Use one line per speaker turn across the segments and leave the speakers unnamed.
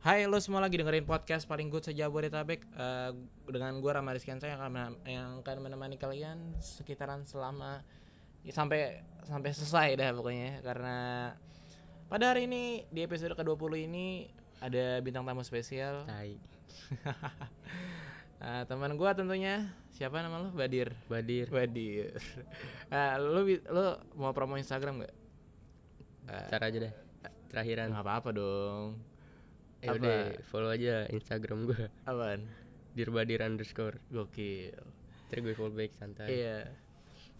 Hai lo semua lagi dengerin podcast paling good sejabodetabek Eh, dengan gue Rama Rizkian saya akan menem- yang akan menemani kalian sekitaran selama ya, sampai sampai selesai dah pokoknya karena pada hari ini di episode ke-20 ini ada bintang tamu spesial
Tai.
Eh, teman gue tentunya siapa nama lo Badir
Badir.
Badir Eh, lo bi- lo mau promo Instagram gak?
Ntar aja deh. Terakhiran.
Nggak apa-apa dong
Eh udah, follow aja Instagram gua
Apaan?
Dirbadir underscore.
Gokil
Ntar gue follow back santai.
Iya.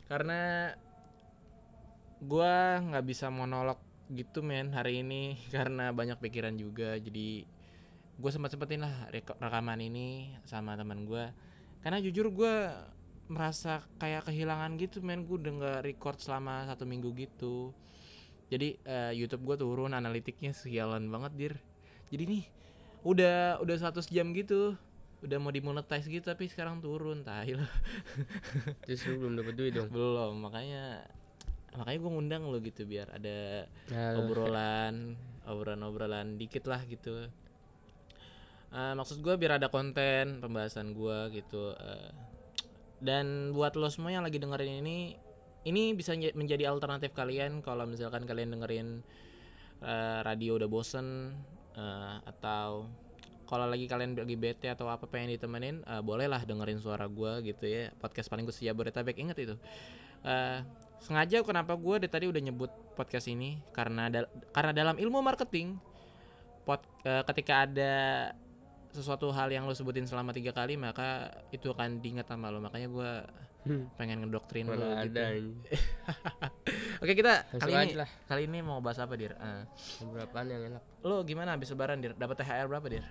Karena gua nggak bisa monolog gitu men hari ini karena banyak pikiran juga. Jadi gue sempat sempetin lah rek- rekaman ini sama teman gua. Karena jujur gua merasa kayak kehilangan gitu men gue udah nggak record selama satu minggu gitu jadi eh, YouTube gue turun analitiknya sialan banget dir jadi nih udah udah 100 jam gitu udah mau dimonetize gitu tapi sekarang turun tai lah.
Terus lu belum dapet duit dong.
belum makanya makanya gue ngundang lo gitu biar ada
Nah, lu-
obrolan obrolan obrolan dikit lah gitu Eh, maksud gue biar ada konten pembahasan gue gitu eh. dan buat lo semua yang lagi dengerin ini ini bisa nje- menjadi alternatif kalian kalau misalkan kalian dengerin eh, radio udah bosen eh, atau kalau lagi kalian lagi bete atau apa pengen ditemenin eh, bolehlah dengerin suara gue gitu ya podcast paling gue sejabodetabek inget itu Eh, sengaja kenapa gue dari tadi udah nyebut podcast ini karena dal- karena dalam ilmu marketing pod- eh, ketika ada sesuatu hal yang lo sebutin selama tiga kali maka itu akan diingat sama lo makanya gue
Hmm,
pengen ngedoktrin lo
Mana
gitu
ada ya. anjing.
oke kita
Langsung
kali ini
aja lah
kali ini mau bahas apa dir Eh,
Ngobrol apaan yang enak
lo gimana habis lebaran dir dapat thr berapa dir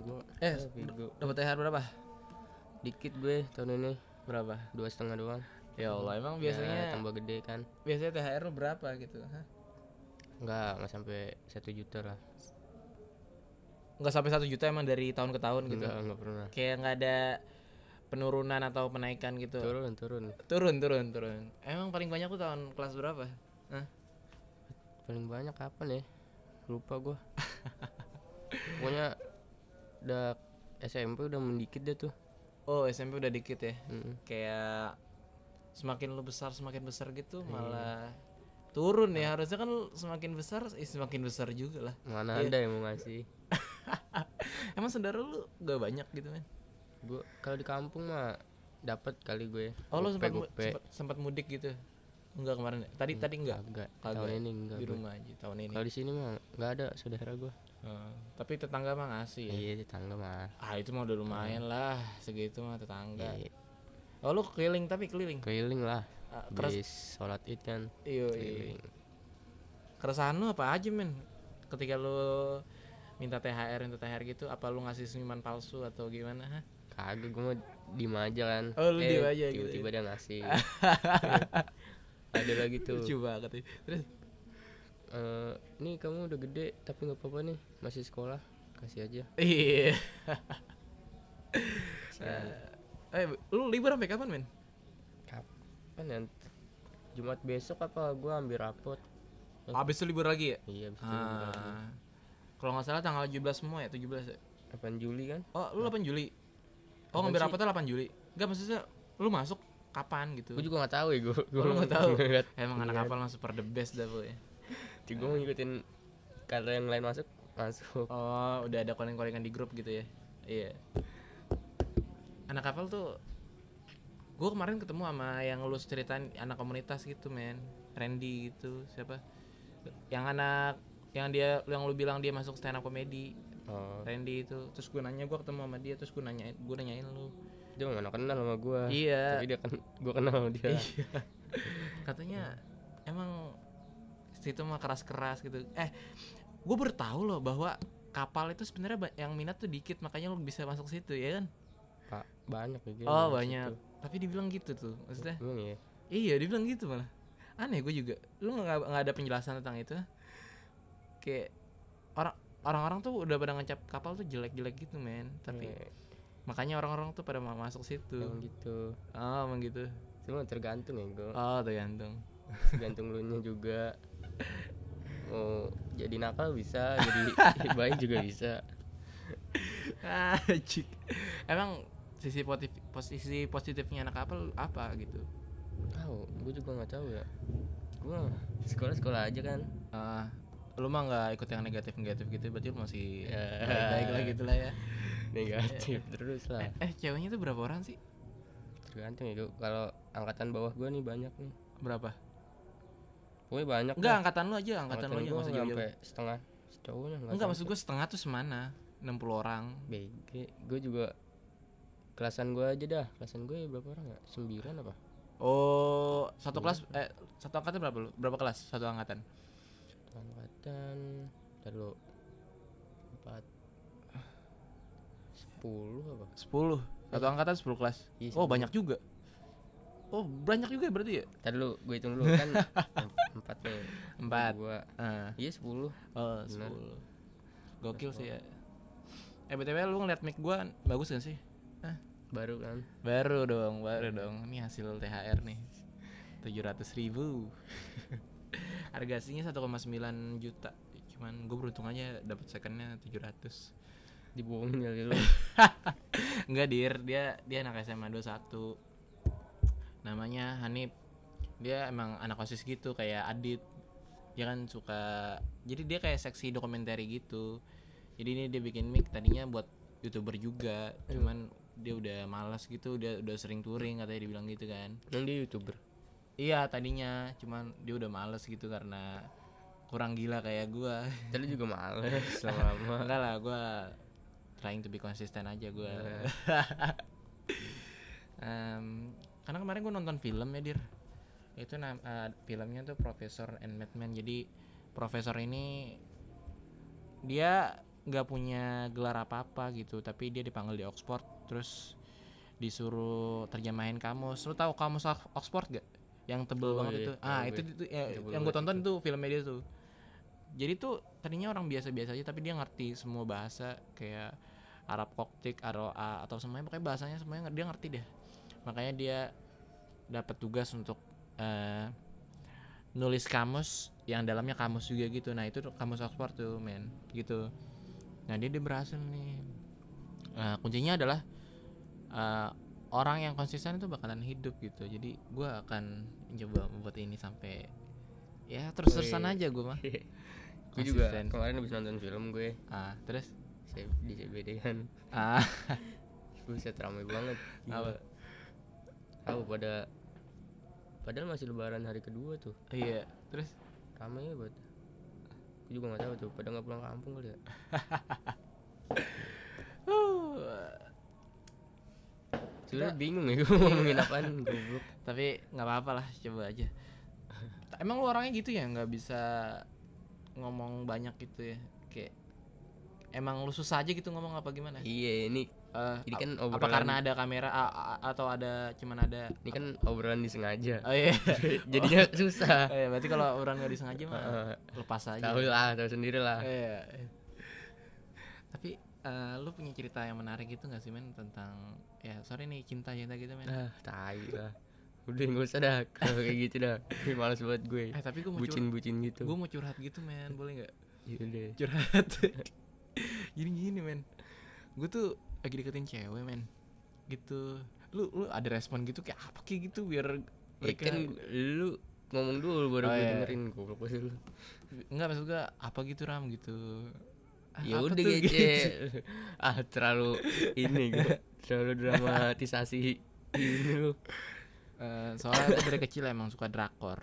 Gue
eh
Bigo
dapat thr berapa
Dikit gue tahun ini
berapa
Dua setengah doang
ya allah emang
Ya,
biasanya
Tambah gede kan
biasanya thr lo berapa gitu Hah?
Enggak, enggak sampai satu juta lah
nggak sampai satu juta emang dari tahun ke tahun gitu
Enggak, enggak pernah
kayak nggak ada penurunan atau penaikan gitu
Turun, turun
turun turun turun emang paling banyak tuh tahun kelas berapa Hah?
Paling banyak kapan ya? Lupa gue Pokoknya Udah SMP udah mendikit deh tuh
oh SMP udah dikit ya
Mm-mm.
kayak semakin lu besar semakin besar gitu malah turun ya harusnya kan lu semakin besar eh, semakin besar juga lah
Mana ada yang mau ngasih
emang saudara lu gak banyak gitu men
Gue kalau di kampung mah dapat kali gue
oh lu
Gope,
sempat, mu-
gope.
sempat sempat mudik gitu enggak kemarin ya? tadi tadi enggak
Kagak,
Kagak. ya?
tahun ini enggak
di
gue.
rumah aja tahun ini
Kalau di sini mah enggak ada saudara gue
Heeh. tapi tetangga mah ngasih ya
Iya tetangga mah
ah itu mah udah lumayan lah segitu mah tetangga
Iya,
Oh lu keliling tapi keliling.
Keliling lah
Ah, keras
Habis sholat id kan
iyo, iyo.
Keliling
Keresahan lu apa aja men? Ketika lu minta THR minta THR gitu apa lu ngasih senyuman palsu atau gimana hah?
Kagak gue mah diem aja kan
Oh, lu diem aja gitu
Tiba-tiba dia ngasih Ada lagi tuh
Lucu banget ya. Terus
Eh, Nih kamu udah gede tapi nggak apa-apa nih Masih sekolah Kasih aja
iya. eh lu libur sampai kapan men?
Kapan ya Jumat besok apa gue ambil rapot
Habis itu libur lagi ya?
Iya abis itu gua-
Ah. Kalau nggak salah tanggal 17 semua ya, 17 ya.
8 Juli kan
Oh, lu 8 Juli. Oh,
Apaan
ngambil
sih?
rapatnya 8 Juli. Enggak maksudnya lu masuk kapan gitu?
Gue juga Iya. gak tahu ya gue.
Oh, lu nggak tahu?
Gue
Emang anak kapal mah super the best dah bu ya.
mau ngikutin kalau yang lain masuk masuk.
Oh, udah ada koreng-korengan di grup gitu ya? Iya. Anak kapal tuh, gue kemarin ketemu sama yang lu ceritain anak komunitas gitu men, Randy gitu, siapa? Yang anak, yang dia, yang lu bilang dia masuk stand up comedy,
Oh,
Randy itu. Terus gue nanya, gue ketemu sama dia, terus gue nanyain, gue nanyain lu.
dia mana kenal sama gue.
Iya.
Tapi dia kan gue kenal sama dia.
Katanya emang situ mah keras-keras gitu. Eh, gue baru tahu loh bahwa kapal itu sebenarnya ba- yang minat tuh dikit, makanya lu bisa masuk situ ya kan?
Pak banyak ya. dia
Oh
masuk
banyak.
situ.
Tapi dibilang gitu tuh, maksudnya?
Emang ya.
Iya, dibilang gitu malah. Aneh gue juga. Lu nggak nggak ada penjelasan tentang itu? Kayak orang orang-orang tuh udah pada ngecap kapal tuh jelek-jelek gitu men. Tapi
Iya,
makanya orang-orang tuh pada mau masuk situ.
emang gitu.
Oh, emang gitu.
Cuma tergantung ya gue.
Oh, tergantung.
Tergantung lu nya juga. Mau jadi nakal bisa jadi baik juga bisa
Ah, cik. Emang sisi positif posisi positifnya anak apel apa gitu?
tahu gue juga nggak tahu ya gue sekolah sekolah aja kan
Eh, lu mah nggak ikut yang negatif negatif gitu berarti lu masih
Ya.
baik lah gitu lah ya
negatif terus lah
eh ceweknya tuh berapa orang sih
tergantung ya Gu. kalau angkatan bawah gue nih banyak nih
berapa
pokoknya banyak
enggak
dah.
angkatan lu aja ya, angkatan, lu aja
gue
nggak usah jauh-jauh
sampai setengah cowoknya nggak
enggak maksud
sampai.
gue setengah tuh semana 60 orang
BG gue juga kelasan gue aja dah kelasan gue berapa orang ya sembilan apa
oh satu kelas eh satu angkatan berapa lu berapa kelas satu angkatan
angkatan terlalu empat sepuluh apa
10 satu angkatan 10 kelas
Iya,
oh
10.
banyak juga oh banyak juga berarti ya
Ntar dulu gue hitung dulu kan em- empat nih
Empat.
dua
Ah.
iya sepuluh
Oh,
Bener.
10. Gokil sih ya. Eh BTW lu ngeliat mic gua bagus gak sih?
baru kan
Baru dong, baru dong. Ini hasil THR nih. 700 ribu Harga aslinya 1,9 juta Cuman gue beruntung aja dapat secondnya 700
dibohongin kali lu
Enggak dir, dia dia anak SMA 21 Namanya Hanif Dia emang anak osis gitu kayak Adit Dia kan suka Jadi dia kayak seksi dokumenter gitu Jadi ini dia bikin mic tadinya buat youtuber juga Cuman dia udah malas gitu Dia udah sering touring katanya dibilang gitu kan
emang dia youtuber
Iya tadinya, cuman dia udah males gitu karena kurang gila kayak gua.
tadi juga males lama-lama
Enggak lah, gua trying to be consistent aja gua.
Iya.
Em, karena kemarin gua nonton film ya, Dir. Itu nam- eh, filmnya tuh Profesor and Madman. Jadi profesor ini dia nggak punya gelar apa-apa gitu, tapi dia dipanggil di Oxford terus disuruh terjemahin kamus. Lu tahu kamus Ox- Oxford gak? Yang tebel
Oh,
banget
iya,
itu.
tahu
Ah,
gue.
itu, itu ya,
Tebel
yang gue
banget
tonton tuh filmnya dia tuh jadi tuh tadinya orang biasa-biasa aja tapi dia ngerti semua bahasa kayak Arab Koptik Aroa atau semuanya pokoknya bahasanya semuanya dia ngerti deh makanya dia dapat tugas untuk eh, nulis kamus yang dalamnya kamus juga gitu nah itu tuh kamus Oxford tuh men gitu nah dia dia berhasil nih Nah, kuncinya adalah eh, orang yang konsisten itu bakalan hidup gitu jadi gua akan coba membuat ini sampai ya terus-terusan
Wih.
aja gua mah
gue juga
Konsisten.
kemarin habis nonton film gue
ah terus
saya di CBD kan
ah
Buset rame banget
Apa?
Gila. Tahu pada Padahal masih lebaran hari kedua tuh
iya terus
Rame ya buat Gue juga gak tahu tuh Pada gak pulang kampung kali ya
uh,
Sebenernya bingung ya Gue mau ngomongin apaan Goblok
tapi nggak apa-apa lah coba aja Ta- emang lu orangnya gitu ya nggak bisa ngomong banyak gitu ya kayak emang lu susah aja gitu ngomong apa gimana
Iya ini
Eh,
Ini kan
ap- apa
obrolan-
karena ada kamera a- a- atau ada cuman ada
Ini kan obrolan disengaja
oh iya
Jadinya
Oh
susah
Ah, iya, berarti kalau orang nggak disengaja mah
Heeh.
lepas aja
Tahu lah tahu sendiri lah
Iya, iya. Tapi eh, lu punya cerita yang menarik gitu gak sih men tentang ya sorry nih cinta cinta gitu men.
Ah tai lah Udah gak usah dah Kalau kayak gitu dah Gue Males buat gue
Eh tapi gue mau curhat,
Bucin-bucin gitu Ya
gue mau curhat gitu men boleh nggak?
Yaudah
Curhat. Jadi gini men, gue tuh lagi deketin cewek men, gitu. Lu lu ada respon gitu kayak apa kayak gitu biar
Ya
mereka
kan lu ngomong dulu
Oh,
baru gue
iya.
dengerin Goblok pasti lu
nggak maksud gue apa gitu ram gitu. Ah,
ya
apa
udah
tuh
gece ah terlalu ini gitu terlalu dramatisasi ini lu
Eh, soalnya gue dari kecil emang suka drakor.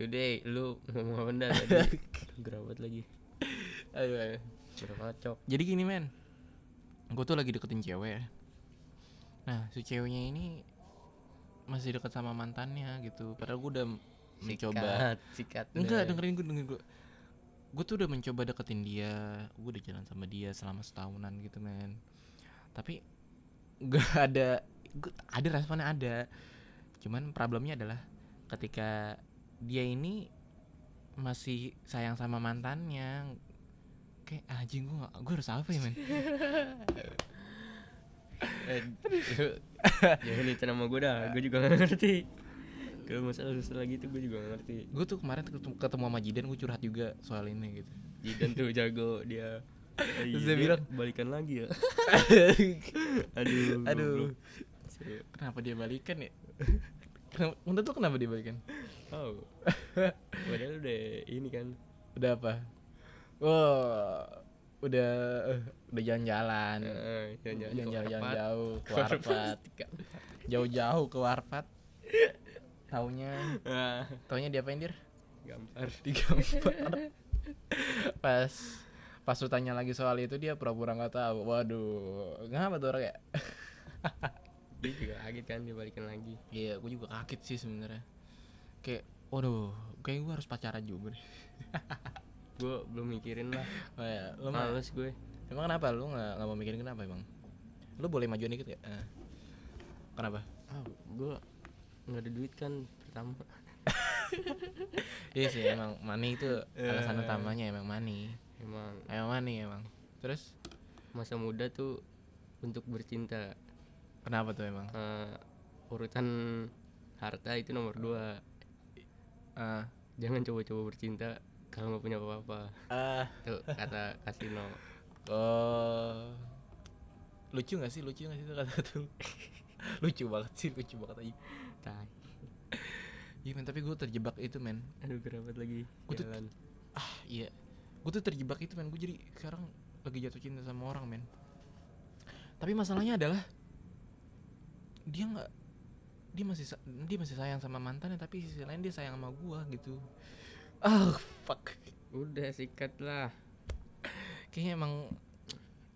yaudah Ya lu ngomong apa dah tadi gerawat lagi
Ayo, ayo.
udah kacok
Jadi gini men Gue tuh lagi deketin cewek ya. Nah si ceweknya ini Masih deket sama mantannya gitu Padahal gue udah mencoba
sikat sikat
Enggak
deh.
dengerin gue dengerin gue Gue tuh udah mencoba deketin dia Gue udah jalan sama dia selama setahunan gitu men Tapi Gak ada gua- Ada responnya ada Cuman problemnya adalah Ketika dia ini Masih sayang sama mantannya Kayak anjing gue gue harus apa ya men
Ya eh, lu jangan itu nama gue dah gue juga gak ngerti kalau masalah-masalah gitu gue juga gak ngerti
gue tuh kemarin ketemu, ketemu sama Jidan gue curhat juga soal ini gitu
Jidan tuh jago dia Iya,
Terus dia bilang,
balikan lagi ya aduh
Aduh.
goblok. Saya-
kenapa dia balikan ya kenapa, menurut lu kenapa dia balikan
oh padahal udah ini kan
udah apa oh udah eh, udah jalan-jalan
Heeh, jalan-jalan ke
Eh, jalan-jalan
Warpat.
jauh ke
Ke
Warpat
Warpat.
jauh-jauh ke Warpat taunya
Ah,
taunya diapain dir
gambar
digambar pas pas lu tanya lagi soal itu dia pura-pura nggak tahu waduh ngapa tuh orang ya
dia juga kaget kan dia balikan lagi
iya gue juga kaget sih sebenarnya kayak waduh kayak gue harus pacaran juga deh
gue belum mikirin lah
oh, ya. lu mah-
males gue
emang kenapa lu nggak nggak mau mikirin kenapa emang lu boleh majuin dikit ya kenapa
ah gue nggak ada duit kan pertama
iya sih emang money itu alasan utamanya emang money
emang
emang money emang terus
masa muda tuh untuk bercinta
kenapa tuh emang
Eh, urutan harta itu nomor dua
ah
jangan coba-coba bercinta kalau nggak punya apa-apa
ah
tuh kata kasino
Oh. Lucu gak sih? Lucu gak sih itu kata-kata lu? lucu banget sih, lucu banget aja.
tai
Iya men, tapi gue terjebak itu men.
aduh kerabat lagi
Gua tuh-
jalan
Ah, iya. Gue tuh terjebak itu men. Gue jadi sekarang lagi jatuh cinta sama orang men. Tapi masalahnya adalah dia nggak dia masih sa- dia masih sayang sama mantannya tapi sisi lain dia sayang sama gua gitu. Ah, fuck.
udah sikat lah
Kayaknya emang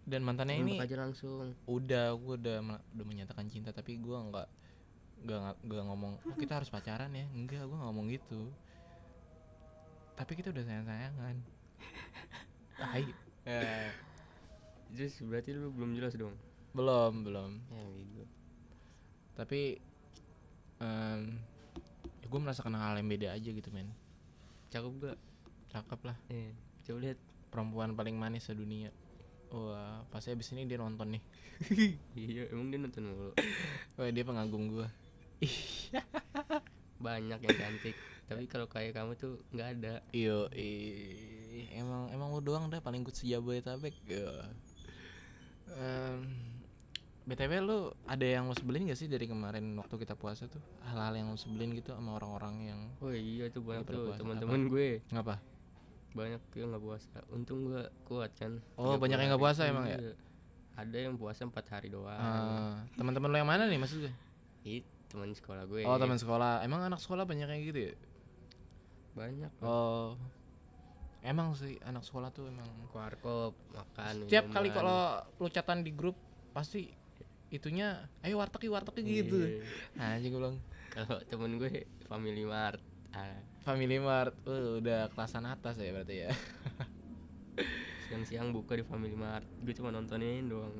dan mantannya ini
nembak aja langsung
udah gue udah me- udah menyatakan cinta tapi gue nggak nggak nga- nggak ngomong "Oh, kita harus pacaran ya enggak gue ngomong gitu tapi kita udah sayang sayangan tai
Eh, terus berarti lu belum jelas dong
belum belum
ya gitu
tapi em ya gue merasakan hal yang beda aja gitu men
cakep gak
cakep lah
eh coba lihat
perempuan paling manis sedunia wah pasti abis ini dia nonton nih
iya emang dia nonton mulu
wah dia pengagum gue
banyak yang cantik tapi kalau kayak kamu tuh nggak ada
Iyo, ih, emang emang lu doang dah paling good sejabodetabek. Ya. Em, BTW lu ada yang lu sebelin gak sih dari kemarin waktu kita puasa tuh? Hal-hal yang lu sebelin gitu sama orang-orang yang
oh iya tuh banyak
Iya, pada
tuh
puasa.
teman-teman gue
ngapa?
banyak yang nggak puasa untung gue kuat kan Iya.
Oh, banyak yang nggak puasa emang ya?
ada yang puasa empat hari doang
Eh, teman-teman lu yang mana nih maksud gue?
Ih, teman sekolah gue
Oh, teman sekolah. Emang anak sekolah banyak kayak gitu ya?
banyak
Oh. Emang sih anak sekolah tuh emang
warkop makan
setiap kali
minuman.
kalau lu catatan di grup pasti itunya ayo warteg yuk, warteg yuk," gitu.
Iya.
Nah, aja gue bilang
kalau temen gue family mart ah,
Family Mart uh, udah kelasan atas ya berarti ya.
siang-siang buka di family mart gue cuma nontonin doang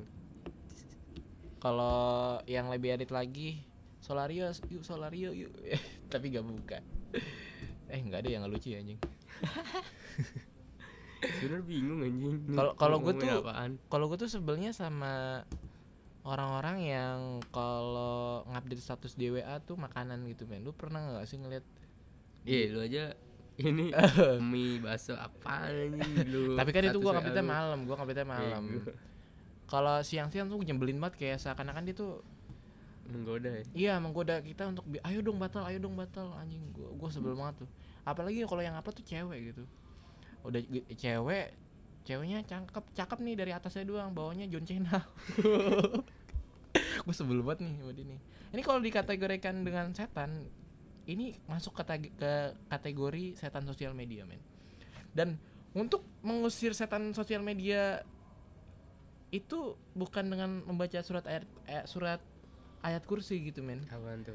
Kalau yang lebih edit lagi Solario, yuk Solario yuk. Tapi gak buka. eh nggak ada yang nggak lucu ya anjing.
sebenernya bingung anjing
Kalau- kalau gue
Ngomongin
tuh-
apaan
Kalau gue tuh sebelnya sama orang-orang yang kalau ngupdate status di WA tuh makanan gitu men. Lu pernah nggak sih ngeliat?
iya lu aja ini mie bakso apa anjing lu
Tapi kan itu gue
Status WA
ngupdate
lu. Iya,
malam, gue ngupdate malam.
Bego.
Kalau siang-siang tuh nyebelin banget kayak seakan-akan dia tuh
menggoda ya
Iya, menggoda kita untuk bi- ayo dong batal, ayo dong batal anjing. Gua gua sebel banget tuh. Apalagi kalau yang upload tuh cewek gitu. Udah ge- cewek, ceweknya cakep, cakep nih dari atasnya doang, bawahnya John Cena. gua sebel banget nih sama dia nih. Ini kalau dikategorikan dengan setan, ini masuk kata- ke kategori setan sosial media, men. Dan untuk mengusir setan sosial media itu bukan dengan membaca surat ayat eh, surat ayat kursi gitu men
apaan tuh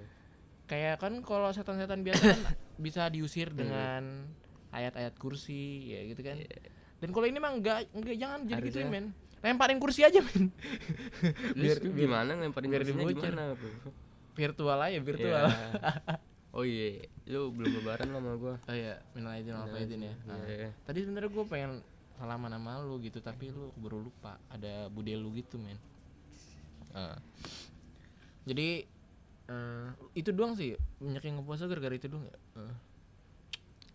kayak kan kalau setan-setan biasa kan bisa diusir
Iya.
dengan ayat-ayat kursi ya gitu kan dan kalau ini mah enggak enggak jangan jadi
Iya. Harusnya.
gituin men lemparin kursi aja men
Terus lu gimana ngelemparin
biar
kursinya
dibocor.
gimana bro?
virtual aja virtual
Iya. oh iya lu belum lebaran lah sama gua
oh iya minal aidin wal faizin ya Ah.
Iya.
tadi sebenarnya gue pengen salaman sama lu gitu tapi lu baru lupa ada bude lu gitu men Ah. jadi eh Eh, itu doang sih banyak yang ngepuasa gara-gara itu doang ya Eh,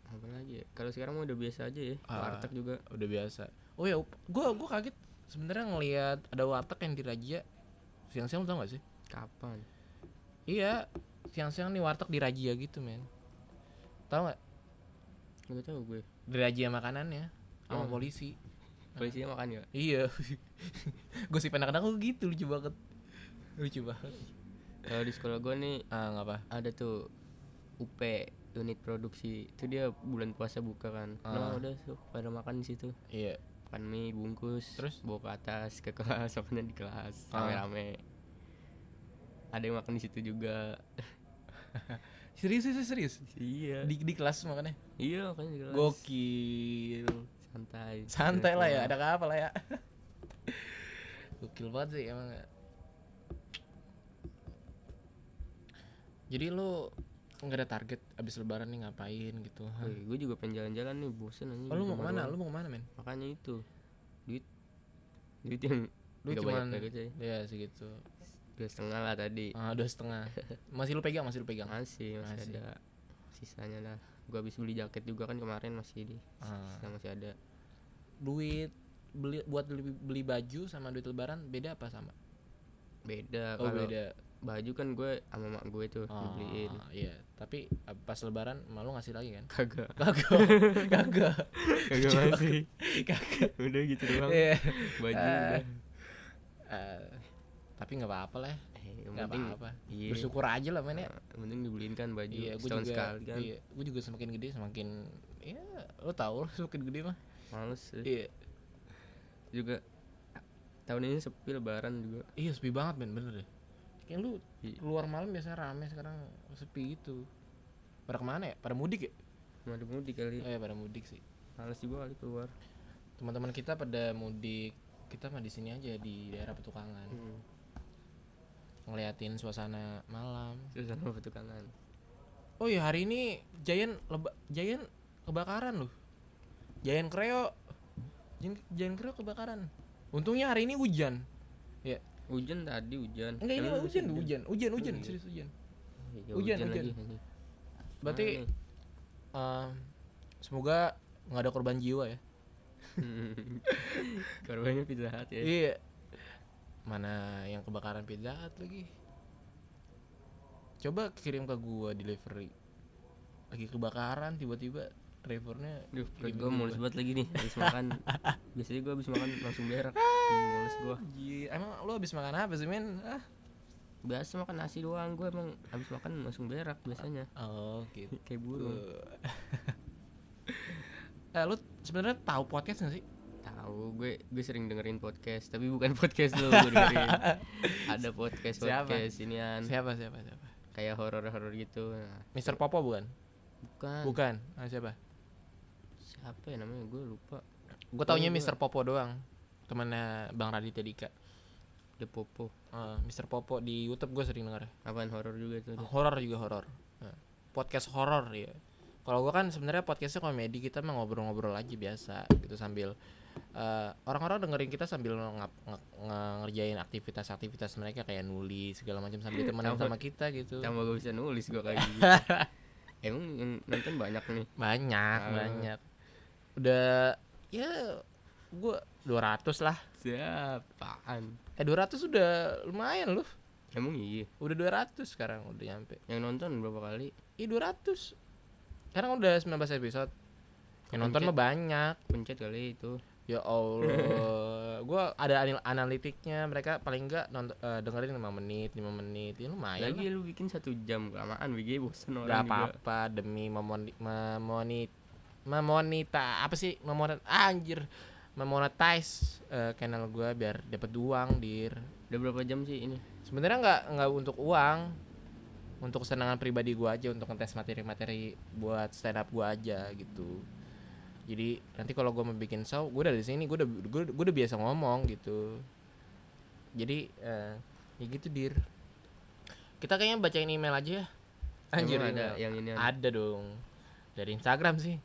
apa lagi ya? kalau sekarang mah udah biasa aja ya
Ah.
warteg juga
udah biasa oh ya up- gua gua kaget sebenarnya ngelihat ada warteg yang dirajia siang-siang lu tau gak sih
kapan
iya siang-siang nih warteg dirajia gitu men tau gak
nggak tahu gue
dirajia makanannya sama
Oh.
polisi Ah.
polisinya makan ya
iya gosip anak-anak gua gitu lucu banget lucu banget
kalau di sekolah gue nih
ah nggak apa
ada tuh UP unit produksi itu dia bulan puasa buka kan
Ah.
nah udah tuh pada makan di situ
iya
makan mie bungkus
Terus?
bawa ke atas ke kelas makanan di kelas
Ah.
rame-rame ada yang makan di situ juga
serius serius serius
iya
di, di kelas makanya
iya makan di kelas
gokil
santai
santai lah ya ada apa lah ya gokil banget sih emang ya. jadi lu nggak ada target abis lebaran nih ngapain gitu Hah?
gue juga pengen jalan-jalan nih bosen aja
oh,
di
lu mau
rumah
kemana
doang.
lu mau kemana men
makanya itu duit duit yang
Duit
nggak
cuman-
banyak gitu ya
ya segitu
dua setengah lah tadi
ah dua setengah masih lu pegang masih lu pegang
masih masih
iya. Masih.
ada sisanya lah gua habis beli jaket juga kan kemarin masih di
Ah.
sisa masih ada
duit beli buat beli, beli baju sama duit lebaran beda apa sama
beda
oh
kalau
beda
baju kan gue sama mak gue tuh
Ah,
dibeliin
iya tapi ah, pas lebaran malu ngasih lagi kan
kagak
kagak kagak
kagak masih
kagak
udah gitu doang
Iya.
baju
Ah.
udah
Eh, tapi nggak apa-apa lah
eh, yang
nggak
penting
apa-apa
iya
bersyukur aja lah men ya
Nah, yang penting dibeliin kan baju
iya gue
setahun
juga
sekali kan
iya gue juga semakin gede semakin ya lo tau lah semakin gede mah
males sih.
iya
juga tahun ini sepi lebaran juga
iya sepi banget men bener deh kayak lu
Iya.
keluar malam biasanya rame sekarang sepi gitu pada kemana ya pada mudik ya
mau mudik kali
oh, ya pada mudik sih
males juga kali keluar
teman-teman kita pada mudik kita mah di sini aja di daerah petukangan
hmm.
ngeliatin suasana malam
suasana petukangan
Oh iya hari ini Giant leba, Giant kebakaran loh. Giant Creo. Giant, Giant Creo kebakaran. Untungnya hari ini hujan. Ya.
hujan tadi hujan
Enggak ini
Emang
hujan,
masih
hujan, hujan, hujan,
iya.
serius hujan.
Iya,
Hujan,
hujan,
hujan.
lagi anjing.
Berarti
Mana
eh, semoga nggak ada korban jiwa ya.
nih? korbannya pizza Hut ya
Iya. Mana yang kebakaran Pizza Hut lagi. Coba kirim ke gua delivery. Lagi kebakaran tiba-tiba drivernya
Duh, perut
kirim
gue
ke
mulus
gua.
banget lagi nih habis makan. Biasanya gue habis makan langsung berak. Hmm, mulus gue.
Ji, Emang lu habis makan apa sih, men? Ah.
Biasa makan nasi doang, gue emang habis makan langsung berak biasanya.
Oh gitu.
Kayak burung.
Eh, lu sebenarnya tahu podcast gak sih?
Tahu gue gue sering dengerin podcast, tapi bukan podcast lu gue dengerin. Ada podcast
Siapa?
podcast inian
Siapa siapa siapa?
kayak horor-horor gitu. Nah,
Mister Popo bukan?
bukan.
Bukan. Ah, siapa?
Siapa ya namanya? Gue lupa.
Gue taunya
Tahu gua.
Mister Popo doang. Temannya Bang Raditya Dika.
The Popo.
Eh, Mister Popo di YouTube gue sering denger.
Apaan horor juga tuh. dia.
Horor juga horor. Eh, Podcast horor ya. Kalau gue kan sebenarnya podcastnya komedi kita mah ngobrol-ngobrol aja biasa gitu sambil eh, orang-orang dengerin kita sambil ngap, nge- nge- ngerjain aktivitas-aktivitas mereka kayak nulis segala macam sambil temenin sama
Tambah-
kita gitu.
Tambah gue bisa nulis gue kayak gitu. Emang yang nonton banyak nih.
banyak
Ah.
banyak udah ya gua 200 lah
Siapaan?
eh 200 udah lumayan loh
Emang iya.
udah 200 sekarang udah nyampe
Yang nonton berapa kali?
ih 200 sekarang udah 19 episode yang nonton mah
Kepencet.
banyak
Pencet kali itu.
ya allah gua ada anal- analitiknya mereka paling enggak nonton eh, dengerin 5 menit 5 menit ya lumayan
Lagi
lah.
lu bikin satu jam kelamaan, BG bosen
nggak
orang juga.
apa-apa demi memoni memoni memonita apa sih memonet ah, anjir memonetize eh, channel gua biar dapat uang dir
Udah berapa jam sih ini?
sebenarnya nggak nggak untuk uang untuk kesenangan pribadi gua aja untuk ngetes materi-materi buat stand up gua aja gitu jadi nanti kalau gua mau bikin show gua udah di sini gua udah gua, gua udah biasa ngomong gitu jadi eh, ya gitu dir kita kayaknya bacain email aja ya anjir
Emang
email.
ada yang ini. ada.
Ada dong. Dari Instagram sih.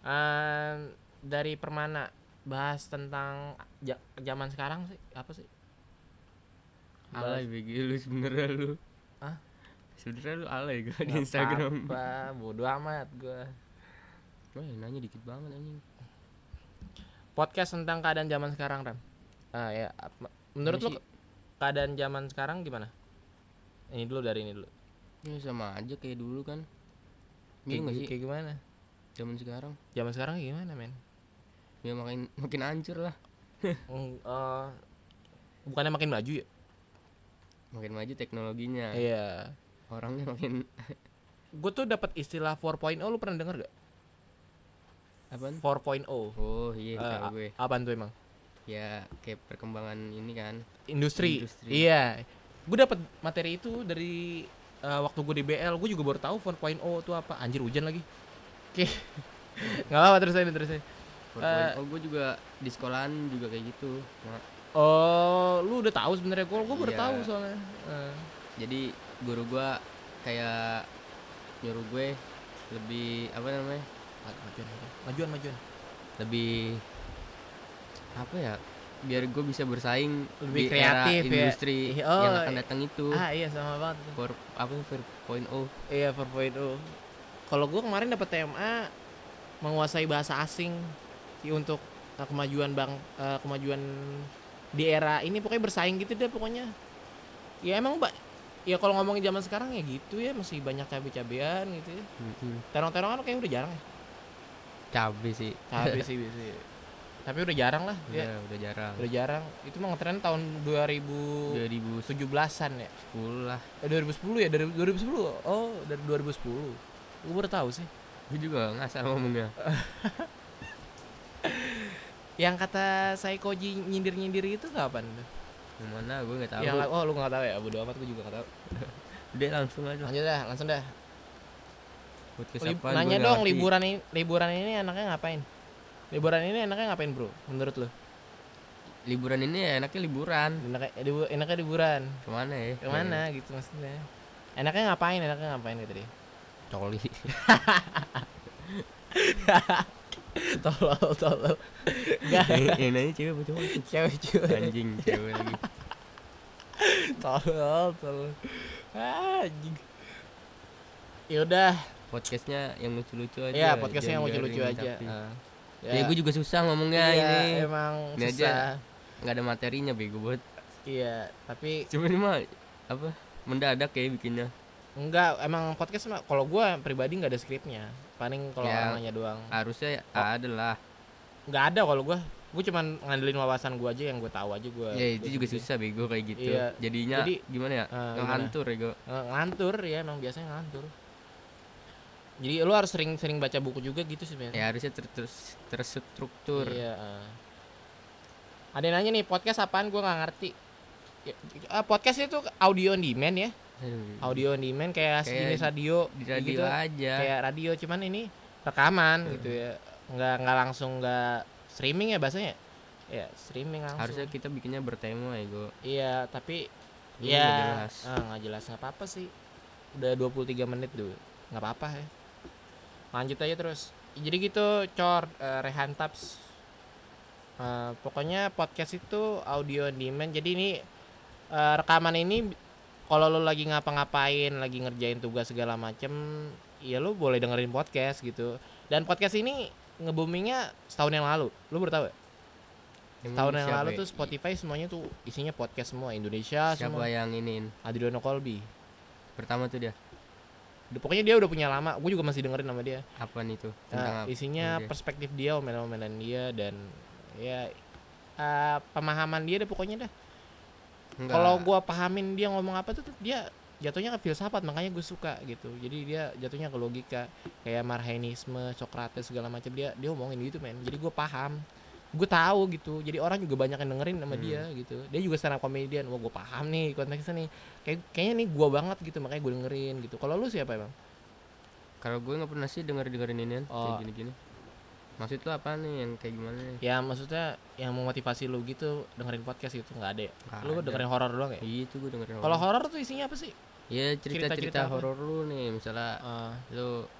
Ehm, dari Permana bahas tentang ja- zaman sekarang sih apa sih?
Alay BG lu sebenernya lu.
Hah?
sebenernya lu alay gue di
Nggak
Instagram
apa-apa, bodo amat gue
Wah, nanya dikit banget anjing
podcast tentang keadaan zaman sekarang Ram ah ya ap- menurut lu
Ini sih-
keadaan zaman sekarang gimana ini dulu dari ini dulu
ya sama aja kayak dulu kan
kayak,
Iya gak
gi-
sih
kayak gimana
zaman sekarang
zaman sekarang kayak gimana men
ya makin makin hancur lah
Mm, eh, bukannya makin maju ya
makin maju teknologinya
iya
orangnya makin
gue tuh dapat istilah 4.0 lu pernah denger gak
apa
4.0
oh
Eh,
iya tahu
a-
gue
apaan tuh emang
ya kayak perkembangan ini kan
industri,
Industri.
iya gue dapat materi itu dari eh, waktu gue di BL gue juga baru tahu 4.0 itu apa anjir hujan lagi oke nggak apa terus aja terus aja Eh.
oh gue juga di sekolahan juga kayak gitu Nah,
Oh, lu udah tahu sebenarnya gue, gue baru
Iya.
tahu soalnya. Eh,
jadi guru gue kayak nyuruh gue lebih apa namanya
majuan, majuan, majuan.
lebih apa ya biar gue bisa bersaing
Lebih
di era
kreatif ya.
industri
Ih, oh,
yang akan
i-
datang itu
Ah iya sama banget. tuh.
for apa point oh
Iya 4.0. Kalau gue kemarin dapat TMA menguasai bahasa asing i- untuk eh, kemajuan bang, eh, kemajuan di era ini pokoknya bersaing gitu deh pokoknya. Ya emang mbak, ya kalau ngomongin zaman sekarang ya gitu ya masih banyak cabai-cabean gitu. ya. Terong-terongan kayak udah jarang ya.
cabe sih
Cabai sih biasanya. Tapi udah jarang lah.
udah
Ya.
udah jarang
Udah jarang. Itu mah ngetren tahun 2000
2010
17-an ya
lah
eh, 2010 ya dari 2010 oh dari 2010 gue baru tahu sih
gue juga nggak salah ngomongnya
yang kata Saikoji nyindir nyindir itu kapan tuh
yang mana gue nggak tahu
yang la- oh lu nggak tahu ya bodo amat gue juga nggak tahu
udah langsung aja lah.
lanjut dah langsung dah
Podcast
Lib-
apaan,
nanya
gua nggak
dong
ngerti.
liburan ini liburan ini enaknya ngapain liburan ini enaknya ngapain bro menurut lu
liburan ini ya enaknya liburan
enaknya eh, libu- enaknya liburan
kemana ya
kemana gitu maksudnya enaknya ngapain enaknya ngapain gitu dia
coli
tolol tolol gak
yang nanya cewek apa cowok
Iya. cewek cewek
anjing cewek lagi
tolol tolol ah anjing. ya udah
podcastnya yang lucu-lucu aja
Iya, podcastnya yang
jangan
lucu-lucu
garing,
aja.
tapi-
Ah.
ya, gue juga susah ngomongnya
iya,
ini
emang
Ini aja.
susah
nggak ada materinya bego buat
iya tapi
cuma ini mah apa mendadak kayak bikinnya
enggak emang podcast mah kalau gua pribadi nggak ada skripnya paling kalau
Ya.
orang nanya doang
harusnya ya
Oh.
ada lah
nggak ada kalau gua gua cuman ngandelin wawasan gua aja yang gua tahu aja gua
ya itu
gua
juga
bikin.
susah bego kayak gitu
Iya.
jadinya
Jadi-
gimana ya
Ah,
ngelantur bego
Eh, ngelantur ya emang biasanya ngelantur jadi lu harus sering-sering baca buku juga gitu sebenarnya
ya harusnya ter- ter- terstruktur
Iya. eh. Ada yang nanya nih podcast apaan gue nggak ngerti. Ya, eh, podcast itu audio on demand ya.
Aduh,
Audio on demand kayak,
Kayak
sejenis radio
di radio
gitu.
aja
Kayak radio cuman ini rekaman gitu ya. Nggak nggak langsung nggak streaming ya bahasanya. Ya streaming langsung.
harusnya kita bikinnya bertema ya gue
Iya tapi
Ini
ya
nggak jelas.
eh, nggak jelas nggak apa-apa sih. Udah 23 menit dulu nggak apa-apa ya. Lanjut aja terus. Jadi gitu cor eh, Rehan Taps. Eh, pokoknya podcast itu audio on demand. Jadi ini eh, rekaman ini kalau lo lagi ngapa-ngapain, lagi ngerjain tugas segala macem, ya lo boleh dengerin podcast gitu. Dan podcast ini nge-boomingnya setahun yang lalu. Lo baru tahu ya?
Hmm,
Tahun yang lalu tuh Spotify semuanya tuh isinya podcast semua Indonesia
ya? siapa ya?
semua.
yang iniin
Adriano Colby.
pertama tuh dia
Dia- Pokoknya dia udah punya lama. Gue juga masih dengerin sama dia.
apa nih tuh
Nah,
tentang apa?
isinya
Oke.
perspektif dia, omelan-omelan dia dan ya eh, pemahaman dia deh pokoknya dah.
Enggak.
Kalau gua pahamin dia ngomong apa tuh tuh dia jatuhnya ke filsafat makanya gue suka gitu. Jadi dia jatuhnya ke logika kayak marhenisme, Socrates segala macam dia dia ngomongin gitu men. Jadi gue paham. Gue tahu gitu. Jadi orang juga banyak yang dengerin sama
Hmm.
dia gitu. Dia juga stand up comedian. Wah, gue paham nih konteksnya nih. Kayak kayaknya nih gua banget gitu makanya gue dengerin gitu. Kalau lu siapa emang?
Kalau gue nggak pernah sih denger dengerin ini
Oh.
kayak gini-gini. Maksud lo apa nih yang kayak gimana? nih?
Ya maksudnya yang memotivasi lu gitu dengerin podcast gitu nggak ada ya?
Nggak
lu
ada.
dengerin horor doang ya?
Iya tuh gue dengerin.
Kalau
horor.
horor tuh isinya apa sih?
ya
cerita-cerita
cerita-cerita
apa?
horor lu nih, misalnya
Ah,
lu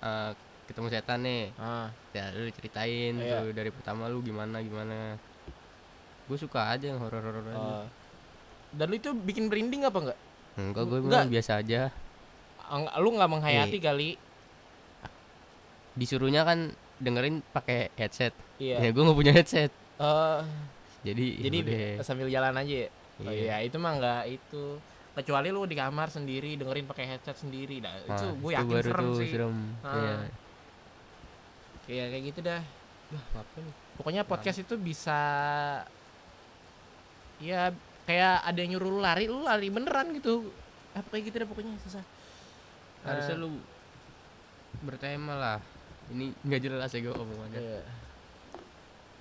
eh, ketemu setan nih,
ah.
ya lu ceritain
Iya.
tuh dari pertama lu gimana gimana. Gue suka aja yang
Oh.
horor-horor aja.
ah. Dan lu itu bikin merinding apa enggak?
Enggak gue
Enggak.
biasa aja.
Eng- lu nggak menghayati
Iya.
kali
disuruhnya kan dengerin pakai headset
iya
ya gue nggak punya headset
Eh,
jadi ya
jadi
yaudah.
sambil jalan aja ya oh
Iya.
iya itu mah nggak itu kecuali lu di kamar sendiri dengerin pakai headset sendiri nah,
Nah,
itu gue yakin
baru
serem
tuh
sih
serem
Ah.
Iya.
Iya kayak gitu dah. Duh, ngapain? Pokoknya podcast itu bisa ya kayak ada yang nyuruh lu lari, lu lari beneran gitu. Apa kayak gitu deh pokoknya susah.
harusnya
Eh,
lu bertema lah ini nggak jelas ya gue omongannya
iya.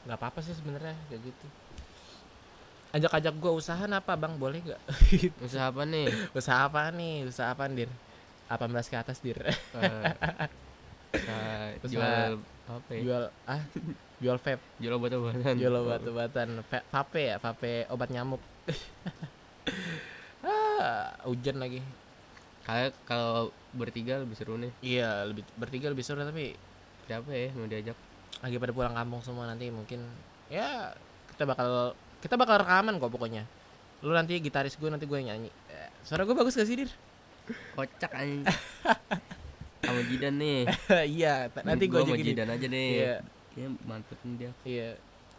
nggak apa-apa sih sebenarnya kayak gitu. Ajak-ajak gua usaha apa, Bang? Boleh nggak?
usaha apa nih
usaha apa nih? Usaha apa, Dir? 18 ke atas, Dir.
Eh, usaha
Usaha-
jual apa ya?
jual ah, jual vape,
jual obat-obatan
jual obat-obatan, Va- vape ya, vape obat nyamuk. ah, hujan lagi.
kayak kalau bertiga lebih seru nih
Iya, lebih bertiga lebih seru tapi
siapa ya mau diajak
lagi pada pulang kampung semua nanti mungkin ya kita bakal kita bakal rekaman kok pokoknya. Lu nanti gitaris gue nanti gue yang nyanyi. Eh, Suara gue bagus gak sih, Dir?
kocak anjing sama Jidan nih
iya, ta- nanti gue
Gua sama
jadi
Jidan aja deh
Iya,
Kayaknya mantep nih dia
iya.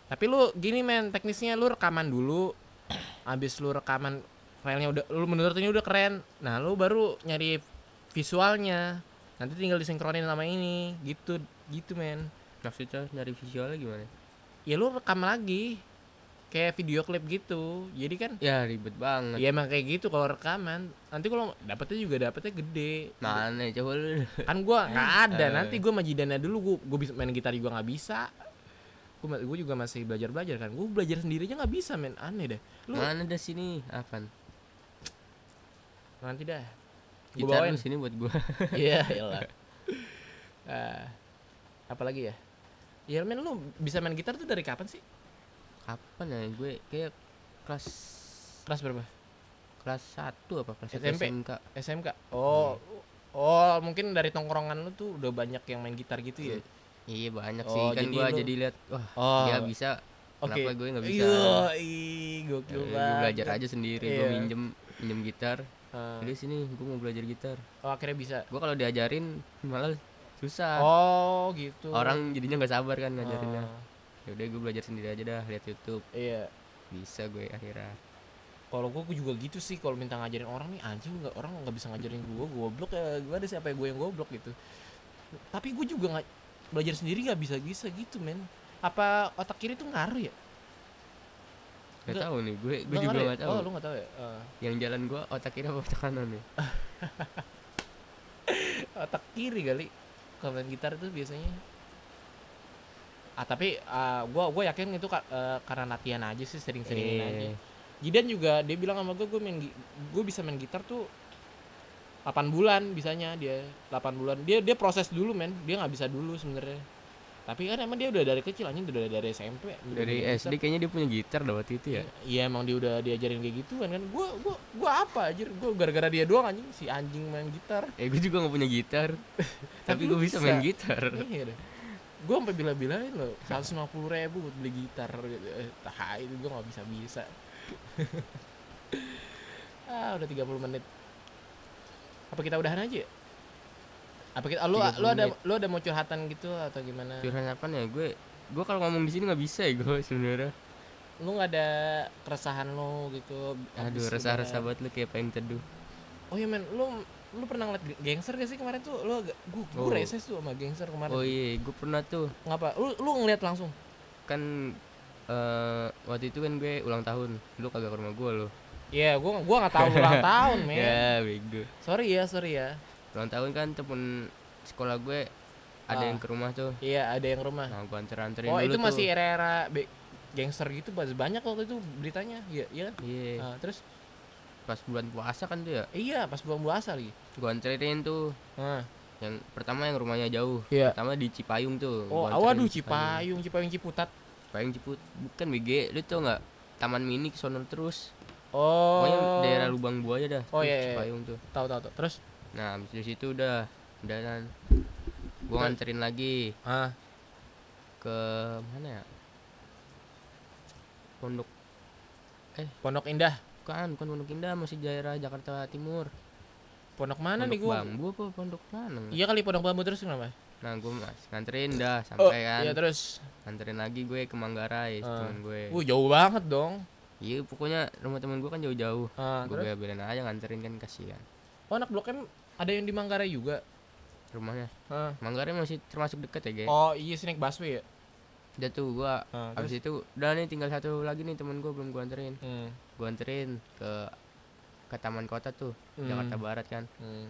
Tapi lu gini men, teknisnya lu rekaman dulu. Habis lu rekaman filenya udah lu menurutnya udah keren. Nah, lu baru nyari visualnya. Nanti tinggal disinkronin sama ini, gitu gitu men.
maksudnya nyari visualnya gimana
ya lu rekam lagi kayak video klip gitu jadi kan
ya ribet banget
ya emang kayak gitu kalau rekaman nanti kalau dapetnya juga dapetnya gede
mana coba lu
kan gua nggak ada
Nah. Eh.
nanti gua majidana dulu gua gua bisa main gitar juga nggak bisa gua, ma- gua juga masih belajar belajar kan gua belajar sendiri aja nggak bisa main aneh deh lu
mana dah sini apaan
nanti dah gua
gitar
bawain
lu sini buat gua
iya iyalah Eh, apalagi ya ya men lu bisa main gitar tuh dari kapan sih
kapan ya gue kayak kelas
kelas berapa
kelas 1 apa kelas
SMP?
1 SMK
SMK oh oh mungkin dari tongkrongan lu tuh udah banyak yang main gitar gitu ya
iya banyak
Oh,
sih kan
jadi
gua
lu-
jadi lihat wah
Oh,
dia bisa
oke.
kenapa gue nggak bisa
Iya, ih,
Ya,
gokil
gue
banget.
belajar aja sendiri gue
Iya.
minjem minjem gitar
Ah.
Jadi sini gue mau belajar gitar
Oh, akhirnya bisa.
gue kalau diajarin malah susah
Oh, gitu.
orang jadinya nggak sabar kan ngajarinnya
Ah,
ya udah gue belajar sendiri aja dah lihat YouTube
iya.
bisa gue akhirnya
Kalau gua gua juga gitu sih kalau minta ngajarin orang nih anjing nggak orang nggak bisa ngajarin gua, gua goblok ya gua ada siapa ya gua yang goblok gitu. Tapi gua juga nggak belajar sendiri nggak bisa bisa gitu, men. Apa otak kiri tuh ngaruh ya?
nggak
Nggak-
tahu nih gue gue
Nggak
juga
ngaruh ya?
nggak tahu
Oh, lu nggak tahu ya? Ah.
yang jalan gue otak kiri apa otak kanan ya? nih
otak kiri kali kalau main gitar itu biasanya ah tapi ah, gua gua yakin itu ka- eh, karena latihan aja sih sering-seringin aja
Eh,
Jidan juga dia bilang sama gue gue main gi- gue bisa main gitar tuh 8 bulan bisanya dia 8 bulan dia dia proses dulu men dia nggak bisa dulu sebenarnya tapi kan emang dia udah dari kecil anjing udah dari SMP udah
dari
main
SD kayaknya dia punya gitar dah waktu itu ya
Iya emang dia udah diajarin kayak gituan kan gue gua gua apa anjir gue gara-gara dia doang anjing si anjing main gitar
eh gue juga nggak punya gitar tapi
lu
gue bisa main gitar
Iya deh. Gue sampai bila-bilain loh, 150 ribu buat beli gitar gitu. Eh, Tai itu gue nggak bisa-bisa. ah, udah 30 menit. Apa kita udahan aja? ya? Apa kita ah, lu,
30
lu ada
menit.
lu ada mau curhatan gitu atau gimana?
curhat apa ya gue gue kalau ngomong di sini nggak bisa ya gue sebenarnya
Lu nggak ada keresahan lu gitu?
aduh
habis
rasa-rasa
lebaran?
banget lu kayak pengen teduh
Oh iya men, lu lu pernah ngeliat ge- gangster gak sih kemarin tuh? Lu agak gua, gua
Oh.
reses tuh sama gangster kemarin.
oh iya gue pernah tuh
Ngapa? Lu lu ngeliat langsung?
kan eh waktu itu kan gue ulang tahun lu kagak ke rumah gue lo
Iya, gua gua nggak tahu ulang tahun, men.
ya bego
Sorry ya, sorry ya.
ulang tahun kan temen sekolah gue ada
Ah.
yang ke rumah tuh
Iya, ada yang rumah.
nah gue anter anterin
oh,
dulu
itu
tuh.
masih era-era be- gangster gitu pas banyak waktu itu beritanya. Iya, iya. kan?
iya
Ah, terus
pas bulan puasa kan tuh ya
iya pas bulan puasa lagi.
gue anterin tuh
Nah,
yang pertama yang rumahnya jauh
Iya.
pertama di Cipayung tuh
oh,
Gua
aw-
anterin
waduh
di
Cipayung, Cipayung Ciputat.
Cipayung Ciput bukan BG lu tau nggak taman mini ke sono terus pokoknya
Oh.
daerah lubang buaya dah
Oh,
tuh
iya, iya.
Cipayung tuh
Tahu tahu tahu. Terus
nah habis dari situ udah udah kan gue nganterin lagi
ah,
ke mana ya pondok
Pondok Indah.
kan bukan pondok indah masih daerah Jakarta Timur
Pondok mana
pondok
nih gua?
bambu apa pondok lanang
Iya kali pondok bambu terus kenapa?
nah gue mas nganterin dah sampai kan
Iya terus.
nganterin lagi gue ke Manggarai
Ah.
temen gue
Wuh jauh banget dong.
iya pokoknya rumah temen gue kan jauh-jauh
Ah,
gue
terus.
bela-belain aja nganterin kan kasihan
Oh anak blok M ada yang di Manggarai juga.
rumahnya
Ah.
Manggarai masih termasuk deket ya guys
Oh iya sih naik busway ya.
udah tuh gue
Ah,
abis
terus.
itu udah nih tinggal satu lagi nih temen gue belum gue anterin
Hmm.
gue anterin ke ke taman kota tuh
Hmm.
Jakarta Barat kan
Hmm.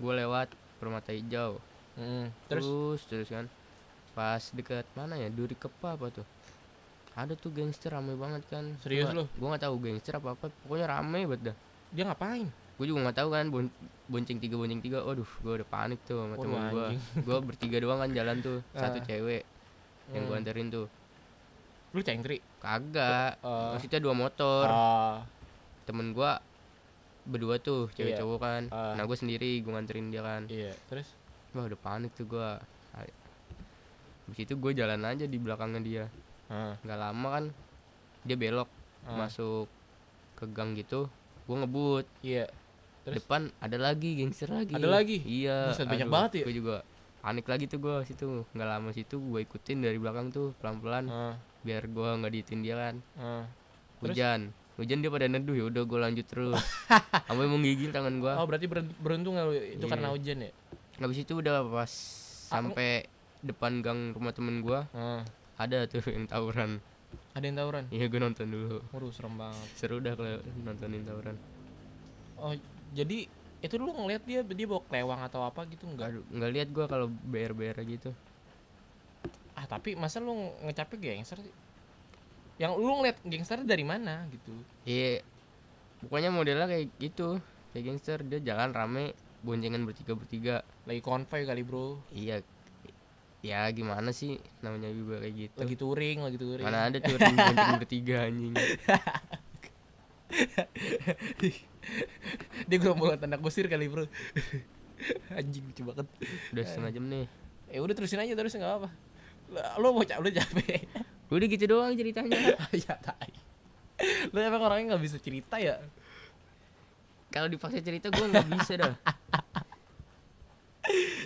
gue lewat permata hijau
Hmm.
terus?
Terus
terus kan pas dekat mana ya duri kepa apa tuh ada tuh gangster rame banget kan
Serius lu?
gue nggak tahu gangster apa apa pokoknya rame banget dah
dia ngapain?
gue juga nggak tahu kan bon- bonceng tiga bonceng tiga waduh gue udah panik tuh sama
Waduh,
temen gue gue bertiga doang kan jalan tuh satu
Ah.
cewek yang gue
Hmm.
anterin tuh
Lu cengkri.
kagak
Oh.
maksudnya dua motor
Ah.
temen gue berdua tuh cewek
Iya.
cowok kan
Ah.
nah gue sendiri gue nganterin dia kan
Iya, terus
wah udah panik tuh gue Habis itu gue jalan aja di belakangnya dia
ah.
nggak lama kan dia belok
Ah.
masuk ke gang gitu gue ngebut
Iya. Terus?
depan ada lagi gangster lagi
Ada lagi?
iya
Buset, banyak banget ya?
gue juga panik lagi tuh gue situ nggak lama situ gue ikutin dari belakang tuh pelan pelan
Ah.
biar gue nggak diitin dia kan
Ah. Terus?
hujan hujan dia pada neduh ya udah gue lanjut terus sampai menggigil tangan gue
Oh, berarti berun- beruntung nggak lu itu
Iya.
karena hujan ya?
habis itu udah pas sampai depan gang rumah temen gue
Ah.
ada tuh yang tawuran
Ada yang tawuran.
iya gue nonton dulu
Waduh, serem banget.
seru dah kalau nontonin tawuran
Oh, jadi itu lu ngeliat dia dia bawa kelewang atau apa gitu enggak?
Aduh, nggak lihat gua kalau BR BR gitu.
Ah, tapi masa lu nge- ngecapek gangster sih? Yang lu ngeliat gangster dari mana gitu?
Iya. Pokoknya modelnya kayak gitu. Kayak gangster dia jalan rame boncengan bertiga-bertiga.
Lagi konvoy kali, Bro.
Iya. Ya gimana sih namanya juga kayak gitu.
Lagi touring, lagi touring.
Mana ada tuh orang bonceng bertiga anjing.
dia gerombolan anak gosir kali, Bro. Anjing lucu banget.
Udah setengah jam nih.
Eh, udah terusin aja terus nggak apa-apa. Lu mau capek, lu capek.
Udah gitu doang ceritanya.
ya tai. Lu emang orangnya nggak bisa cerita ya?
kalau dipaksa cerita gua nggak bisa dah.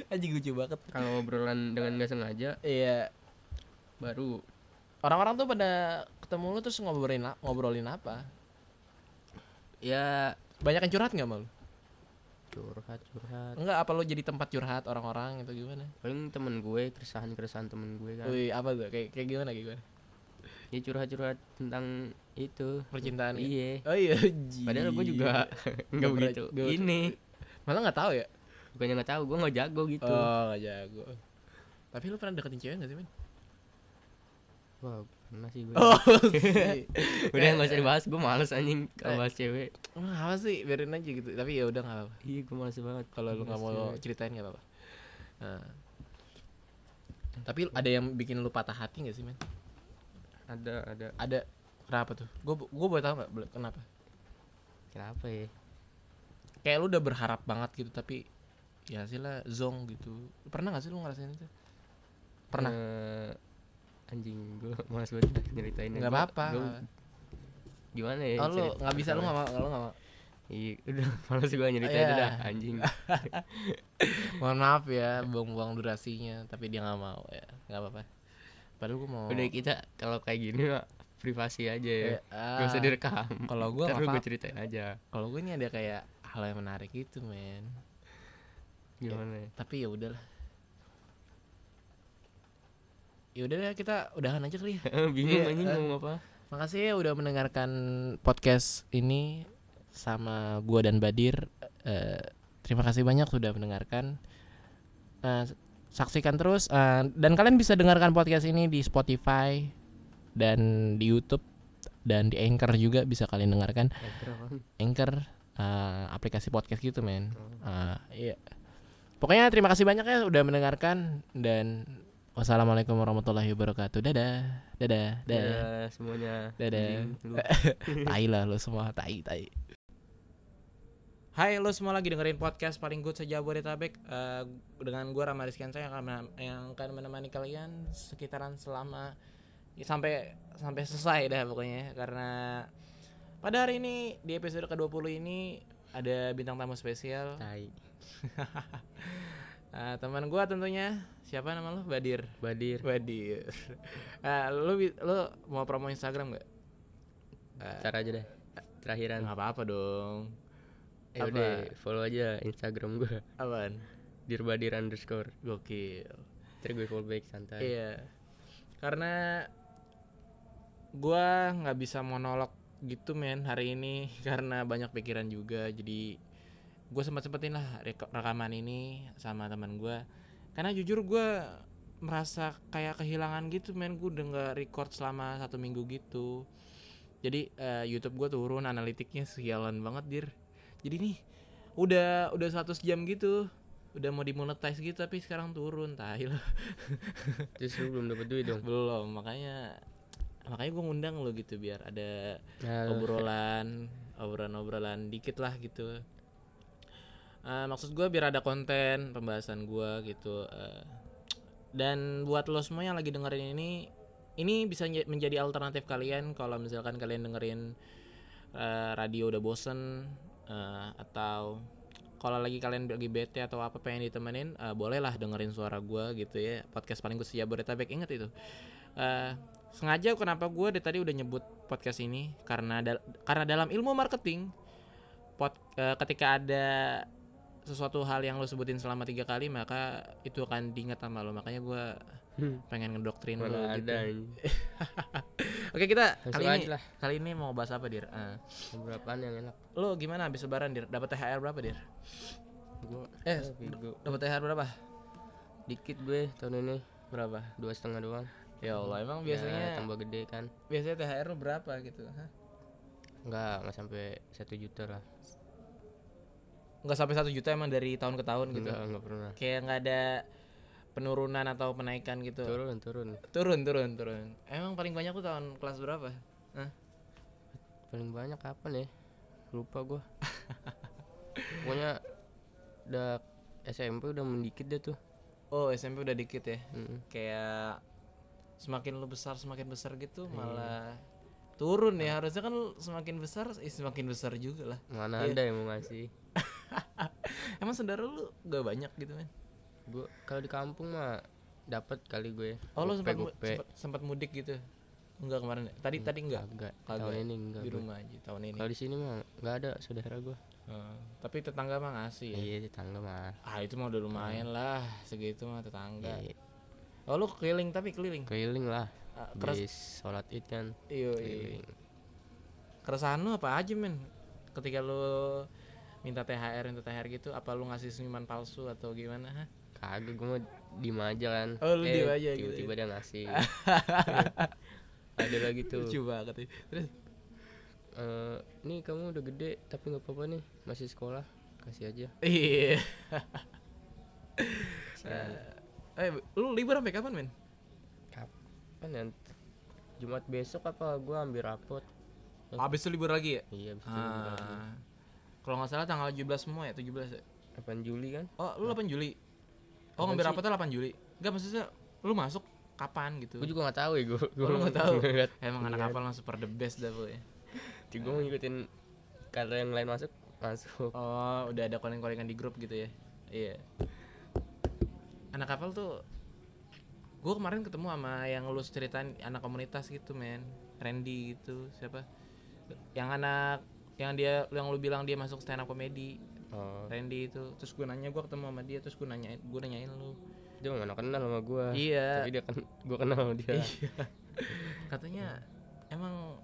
Anjing lucu banget.
Kalau obrolan dengan nggak sengaja
Iya.
baru
Orang-orang tuh pada ketemu lu terus ngobrolin ngobrolin apa?
ya
Banyak yang curhat nggak malu?
curhat curhat.
Enggak, apa lo jadi tempat curhat orang-orang gitu gimana?
Paling temen gue keresahan keresahan temen gue kan.
Wih, apa tuh? Kayak kayak gimana gimana?
Dia curhat curhat tentang itu.
Percintaan. ya?
Iya.
Oh iya.
Padahal gue
jijik.
juga nggak
Nggak pernah-
begitu.
nggak begitu.
Ini
malah nggak tahu ya.
bukannya nggak tahu, gue nggak jago gitu.
Oh, nggak jago. Tapi lu pernah deketin cewek gak sih, men?
Wah, pernah sih gue.
Oh,
Udah nggak usah dibahas, gue males anjing
Eh.
kalau bahas cewek.
"Ah, apa sih? Biarin aja gitu. Tapi ya udah nggak apa-apa.
Iya, gue males banget
Kalau lu nggak mau ceritain nggak apa-apa. Nah. Tapi ada yang bikin lu patah hati gak sih, men?
ada ada
Ada kenapa tuh? Gue gue boleh tahu nggak Bel- kenapa?
kenapa ya?
Kayak lu udah berharap banget gitu tapi ya sih lah zong gitu. Pernah gak sih lu ngerasain itu? Pernah.
Eh, anjing gue males banget nyeritain.
Nggak apa-apa.
Gimana ya?
Oh lu
cerita-
nggak bisa lu
cerita-
nggak mau lu nggak mau.
Iya, udah males gue nyeritain
Iya.
udah anjing.
Mohon maaf ya buang-buang durasinya tapi dia nggak mau ya nggak apa-apa. Padahal gue mau.
Udah kita kalau kayak gini mah privasi aja ya.
Eh, ah.
Gak usah direkam.
Kalau gue
Ntar
nggak
lu gue
apa.
ceritain aja.
Kalau gue ini ada kayak hal yang menarik gitu men.
Gimana ya?
Tapi ya udahlah. Ya udahlah kita udahan aja kali ya.
Bingung
Iya,
anjing
eh.
ngomong apa?
Makasih ya udah mendengarkan podcast ini sama gua dan Badir. Eh, terima kasih banyak sudah mendengarkan. Eh, saksikan terus eh, dan kalian bisa dengarkan podcast ini di Spotify dan di YouTube dan di Anchor juga bisa kalian dengarkan.
Eh, kenapa?
Anchor eh, aplikasi podcast gitu men. Eh, iya. Pokoknya terima kasih banyak ya udah mendengarkan dan wassalamualaikum warahmatullahi wabarakatuh. Dadah. Dadah. Dadah.
Dadah semuanya.
Dadah.
Anjing, lu.
tai lah lo semua tai tai Hai lo semua lagi dengerin podcast paling good sejabodetabek Eh, dengan gua Rama Rizkian saya akan menem- yang akan menemani kalian sekitaran selama ya, sampai sampai selesai dah pokoknya karena pada hari ini di episode ke-20 ini ada bintang tamu spesial
tai
Eh, teman gua tentunya siapa nama lu Badir
badir
Badir Eh, lu bi- lu mau promo Instagram gak?
ntar aja deh terakhiran
Nggak apa-apa dong
eh, udah follow aja instagram gue
Apaan?
dirbadir underscore
Gokil
ntar gue follow back santai
Iya Karena gua nggak bisa monolog gitu men hari ini Karena banyak pikiran juga Jadi gue sempat-sempatin lah rek- rekaman ini sama teman gua Karena jujur gua merasa kayak kehilangan gitu men Gue udah nggak record selama satu minggu gitu Jadi eh, Youtube gue turun analitiknya sialan banget dir Jadi nih udah udah 100 jam gitu Udah mau dimonetize gitu tapi sekarang turun Tai lah
terus lu belum dapet duit dong
belum makanya makanya gue ngundang lo gitu biar ada
nah, lu-
obrolan obrolan obrolan dikit lah gitu Eh, maksud gue biar ada konten pembahasan gue gitu eh. dan buat lo semua yang lagi dengerin ini ini bisa nje- menjadi alternatif kalian kalau misalkan kalian dengerin eh, radio udah bosen eh, atau kalau lagi kalian lagi bete atau apa pengen ditemenin eh, bolehlah dengerin suara gue gitu ya podcast paling gue sejabodetabek inget itu Eh, sengaja kenapa gue dari tadi udah nyebut podcast ini karena dal- karena dalam ilmu marketing pod- eh, ketika ada sesuatu hal yang lo sebutin selama tiga kali maka itu akan diingat sama lo makanya gue
Hmm,
pengen ngedoktrin lo
mana
gitu
ada anjing.
oke kita
Langsung
kali
aja
ini
lah
kali ini mau bahas apa dir Eh,
ngobrol apaan yang enak
lo gimana habis lebaran dir dapat thr berapa dir
gue
Eh,
gue
dapat thr berapa
dikit gue tahun ini
berapa
dua setengah doang
ya allah emang
Ya,
biasanya
tambah gede kan
biasanya thr lo berapa gitu Hah?
nggak nggak sampai satu juta lah
nggak sampai satu juta emang dari tahun ke tahun gitu
nggak nggak pernah
kayak nggak ada penurunan atau penaikan gitu
turun turun
turun turun turun emang paling banyak tuh tahun kelas berapa Hah?
paling banyak kapan ya lupa gue pokoknya udah SMP udah mendikit deh tuh
oh SMP udah dikit ya
Mm-mm.
kayak semakin lu besar semakin besar gitu malah turun ya harusnya kan lu semakin besar eh, semakin besar juga lah
mana ada yang mau ngasih
emang saudara lu gak banyak gitu men
gue kalau di kampung mah dapat kali gue
oh lu
Gope,
sempat, mu-
gope.
sempat sempat mudik gitu enggak kemarin ya? tadi tadi enggak
Kagak.
Kagak.
tahun ini enggak
di rumah aja tahun ini
kalau di sini mah nggak ada saudara gue
Heeh. tapi tetangga mah ngasih ya
iya tetangga mah
ah itu mah udah lumayan lah segitu mah tetangga
Iya,
Oh lu keliling tapi keliling.
keliling lah
Ah, keres
habis sholat id kan
iyo, iyo.
keliling
Iya, Keresahan lu apa aja men? Ketika lu minta THR minta THR gitu apa lu ngasih senyuman palsu atau gimana? Hah?
kagak gue mah diem aja kan
Oh, lu diem aja gitu.
tiba-tiba dia ngasih ada lagi tuh
Lucu banget. ya. Terus
Eh, nih kamu udah gede tapi nggak apa-apa nih masih sekolah kasih aja
iya. eh lu libur sampai kapan men?
kapan ya Jumat besok apa gua ambil rapot
Habis itu libur lagi ya?
iya bisa
Ah. Kalau nggak salah tanggal 17 semua ya, 17 ya.
8 Juli kan
Oh, lu 8 Juli. Oh, ngambil rapatnya 8 Juli. Enggak maksudnya lu masuk kapan gitu?
gua juga nggak tahu ya gua gua
Oh, lu nggak tahu.
ngeliat
Emang anak kapal langsung super the best dah bu ya.
Jadi gua mau ngikutin kalau yang lain masuk masuk
Oh, udah ada calling-callingan di grup gitu ya. Iya. Anak kapal tuh gue kemarin ketemu sama yang lu ceritain anak komunitas gitu, men. Randy gitu, siapa? Yang anak yang dia yang lu bilang dia masuk stand up comedy.
oh
Randy itu. Terus gue nanya gue ketemu sama dia, terus gue nanyain gue nanyain lu.
dia mana kenal sama gua
Iya.
tapi dia kan gua kenal sama dia
Katanya emang